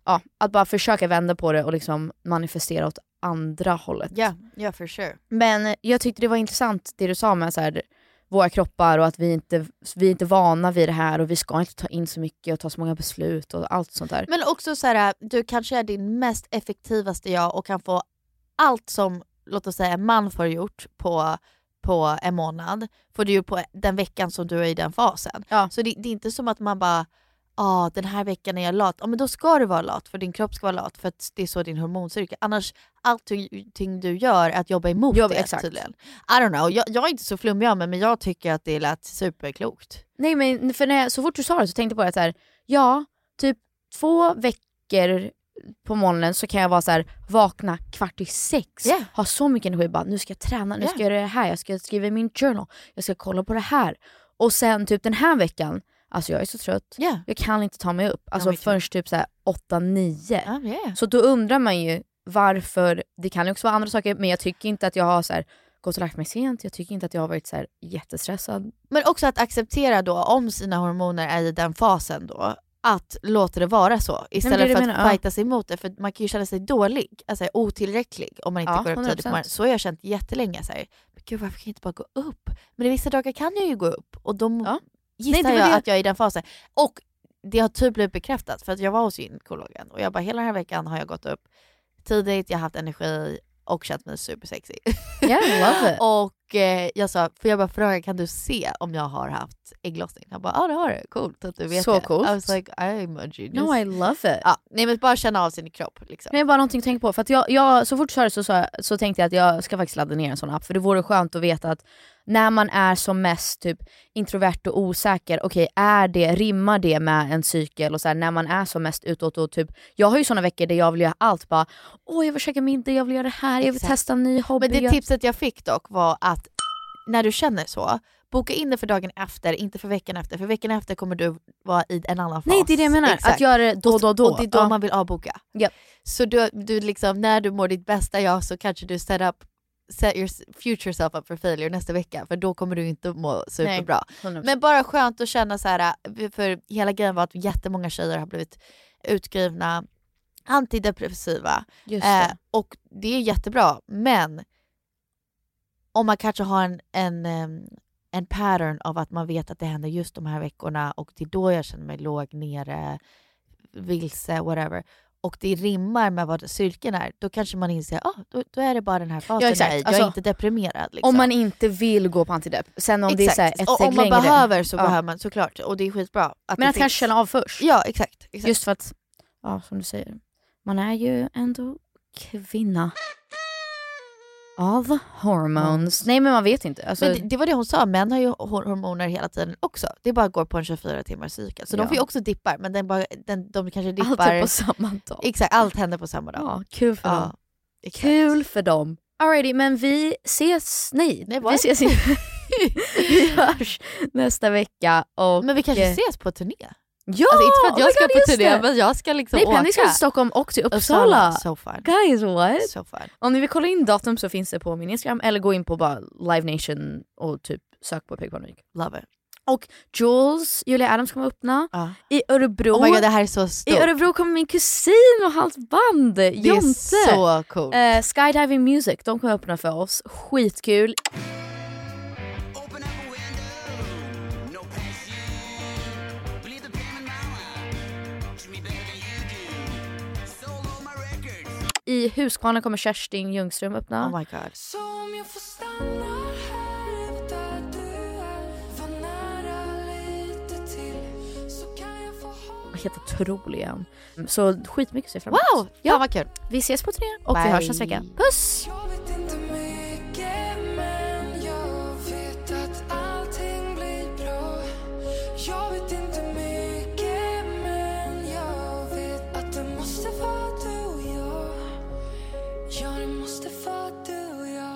[SPEAKER 1] ja, att bara försöka vända på det och liksom manifestera åt andra hållet.
[SPEAKER 2] Ja, ja for sure.
[SPEAKER 1] Men jag tyckte det var intressant det du sa med så här, våra kroppar och att vi inte vi är inte vana vid det här och vi ska inte ta in så mycket och ta så många beslut och allt sånt där.
[SPEAKER 2] Men också så här, du kanske är din mest effektivaste jag och kan få allt som, låt oss säga en man får gjort på, på en månad, får du ju på den veckan som du är i den fasen. Så det, det är inte som att man bara, ah den här veckan är jag lat. Ja men då ska du vara lat, för din kropp ska vara lat, för att det är så din hormoncykel. Annars, allting du gör är att jobba emot
[SPEAKER 1] Jobba-
[SPEAKER 2] det
[SPEAKER 1] exakt.
[SPEAKER 2] tydligen. I don't know, jag, jag är inte så flummig av mig men jag tycker att det lät superklokt.
[SPEAKER 1] Nej men för när jag, så fort du sa det så tänkte jag på det så här, ja, typ två veckor på morgonen så kan jag vara så här, vakna kvart i sex,
[SPEAKER 2] Yeah.
[SPEAKER 1] ha så mycket energi, bara nu ska jag träna, nu
[SPEAKER 2] Yeah.
[SPEAKER 1] ska jag göra det här, jag ska skriva i min journal, jag ska kolla på det här. Och sen typ den här veckan, alltså jag är så trött,
[SPEAKER 2] Yeah.
[SPEAKER 1] jag kan inte ta mig upp. Alltså
[SPEAKER 2] me too.
[SPEAKER 1] förrän typ så här åtta, nio.
[SPEAKER 2] Ja, yeah.
[SPEAKER 1] Så då undrar man ju varför, det kan ju också vara andra saker, men jag tycker inte att jag har så här, gått och lagt mig sent, jag tycker inte att jag har varit så här, jättestressad.
[SPEAKER 2] Men också att acceptera då om sina hormoner är i den fasen då, att låta det vara så istället
[SPEAKER 1] det är det
[SPEAKER 2] för att
[SPEAKER 1] jag menar, ja.
[SPEAKER 2] fighta sig emot det. För man kan ju känna sig dålig, alltså otillräcklig om man inte
[SPEAKER 1] Ja,
[SPEAKER 2] går upp tidigt
[SPEAKER 1] 100%.
[SPEAKER 2] på morgonen. Så har jag känt jättelänge. Så här, men gud varför kan jag inte bara gå upp? Men i vissa dagar kan jag ju gå upp och då
[SPEAKER 1] Nej,
[SPEAKER 2] gissar
[SPEAKER 1] det var
[SPEAKER 2] jag
[SPEAKER 1] det-
[SPEAKER 2] att jag är i den fasen. Och det har typ blivit bekräftat för att jag var hos gynekologen och jag bara hela den här veckan har jag gått upp tidigt, jag har haft energi och känt mig supersexig.
[SPEAKER 1] Yeah, I love it.
[SPEAKER 2] Och eh, jag sa, för jag bara frågade kan du se om jag har haft ägglossning? Han bara, ja ah, det har du, coolt att du vet
[SPEAKER 1] Så
[SPEAKER 2] det.
[SPEAKER 1] coolt.
[SPEAKER 2] I was like, I'm a genius.
[SPEAKER 1] No I love it.
[SPEAKER 2] ja, nej men bara känna av sin kropp liksom.
[SPEAKER 1] Det är bara någonting att tänka på. För att jag, jag, så fort du sa det så, så, så tänkte jag att jag ska faktiskt ladda ner en sån app. För det vore skönt att veta att när man är som mest typ introvert och osäker, okej är det, rimmar det med en cykel? Och så här, när man är som mest utåt och typ, jag har ju såna veckor där jag vill göra allt. Bara, åh jag vill käka middag, jag vill göra det här, jag vill
[SPEAKER 2] Exakt.
[SPEAKER 1] testa en ny hobby.
[SPEAKER 2] Men det
[SPEAKER 1] jag-
[SPEAKER 2] tipset jag fick dock var att när du känner så, boka in det för dagen efter, inte för veckan efter. För veckan efter kommer du vara i en annan fas.
[SPEAKER 1] Nej det är det jag menar,
[SPEAKER 2] Exakt.
[SPEAKER 1] att göra det då,
[SPEAKER 2] Och-
[SPEAKER 1] då, då.
[SPEAKER 2] Och det är då
[SPEAKER 1] Ja.
[SPEAKER 2] man vill avboka.
[SPEAKER 1] Japp.
[SPEAKER 2] Så du, du liksom, när du mår ditt bästa jag så kanske du set up set your future self up for failure nästa vecka för då kommer du inte må superbra.
[SPEAKER 1] 100%.
[SPEAKER 2] Men bara skönt att känna så här, eh, för hela grejen var att jättemånga tjejer har blivit utskrivna antidepressiva
[SPEAKER 1] Just
[SPEAKER 2] eh,
[SPEAKER 1] det.
[SPEAKER 2] och det är jättebra men om man kanske har en, en, em, en pattern av att man vet att det händer just de här veckorna och det är då jag känner mig låg nere, vilse, whatever och det rimmar med vad cirkeln är, då kanske man inser att ah, då, då är det bara den här fasen jag
[SPEAKER 1] exakt.
[SPEAKER 2] är i. Jag
[SPEAKER 1] Alltså,
[SPEAKER 2] är inte deprimerad. Liksom.
[SPEAKER 1] Om man inte vill gå på antidepp. Sen om det är så här, ett
[SPEAKER 2] och
[SPEAKER 1] steg
[SPEAKER 2] om man
[SPEAKER 1] längre.
[SPEAKER 2] behöver så
[SPEAKER 1] Ja.
[SPEAKER 2] behöver man såklart och det är skitbra. Att
[SPEAKER 1] Men
[SPEAKER 2] det
[SPEAKER 1] att kanske
[SPEAKER 2] finns.
[SPEAKER 1] känna av först.
[SPEAKER 2] Ja exakt. exakt.
[SPEAKER 1] Just för att, ja som du säger, man är ju ändå kvinna. Av hormones. Nej men man vet inte. Alltså,
[SPEAKER 2] men det, det var det hon sa, män har ju hor- hormoner hela tiden också. Det bara går på en 24 timmars cykel. Så
[SPEAKER 1] Ja.
[SPEAKER 2] de får ju också dippar men den bara, den, de kanske
[SPEAKER 1] allt
[SPEAKER 2] dippar.
[SPEAKER 1] är på samma dag.
[SPEAKER 2] Exakt, allt händer på samma dag.
[SPEAKER 1] Ja, kul för dem.
[SPEAKER 2] exakt.
[SPEAKER 1] Kul för dem. Alrighty, men vi ses, nej,
[SPEAKER 2] Nej, what?
[SPEAKER 1] vi ses inte. vi hörs nästa vecka och...
[SPEAKER 2] Men vi kanske
[SPEAKER 1] eh,
[SPEAKER 2] ses på turné?
[SPEAKER 1] Ja!
[SPEAKER 2] alltså inte för att
[SPEAKER 1] oh
[SPEAKER 2] jag
[SPEAKER 1] my
[SPEAKER 2] ska
[SPEAKER 1] God,
[SPEAKER 2] på
[SPEAKER 1] just
[SPEAKER 2] turné
[SPEAKER 1] det.
[SPEAKER 2] men jag ska liksom
[SPEAKER 1] Nej,
[SPEAKER 2] åka.
[SPEAKER 1] Penny ska till Stockholm och till
[SPEAKER 2] Uppsala,
[SPEAKER 1] Uppsala.
[SPEAKER 2] So fun.
[SPEAKER 1] Guys what?
[SPEAKER 2] So fun.
[SPEAKER 1] Om ni vill kolla in datum så finns det på min Instagram eller gå in på bara Live Nation och typ sök på Peg Parnevik.
[SPEAKER 2] Love it.
[SPEAKER 1] Och Jules, Julia Adams kommer öppna.
[SPEAKER 2] Ja.
[SPEAKER 1] I Örebro.
[SPEAKER 2] Oh my God, det här är så stort.
[SPEAKER 1] I Örebro kommer min kusin och hans band, det
[SPEAKER 2] är så coolt.
[SPEAKER 1] Eh, Skydiving Music, de kommer öppna för oss. Skitkul. I Huskvarna kommer Kerstin Ljungström öppna.
[SPEAKER 2] Oh my god.
[SPEAKER 10] Så om jag får stanna här vet att du är för nära lite till så kan jag få ha
[SPEAKER 1] Helt otrolig är han. Så skitmycket ser jag fram
[SPEAKER 2] Wow! Ja, vad kul.
[SPEAKER 1] Vi ses på turné och vi
[SPEAKER 2] Bye.
[SPEAKER 1] hörs nästa vecka. Puss!
[SPEAKER 10] Jag vet inte mycket men jag vet att allting blir bra Jag vet inte mycket men jag vet att det måste vara du och jag Ja, det måste vara du och jag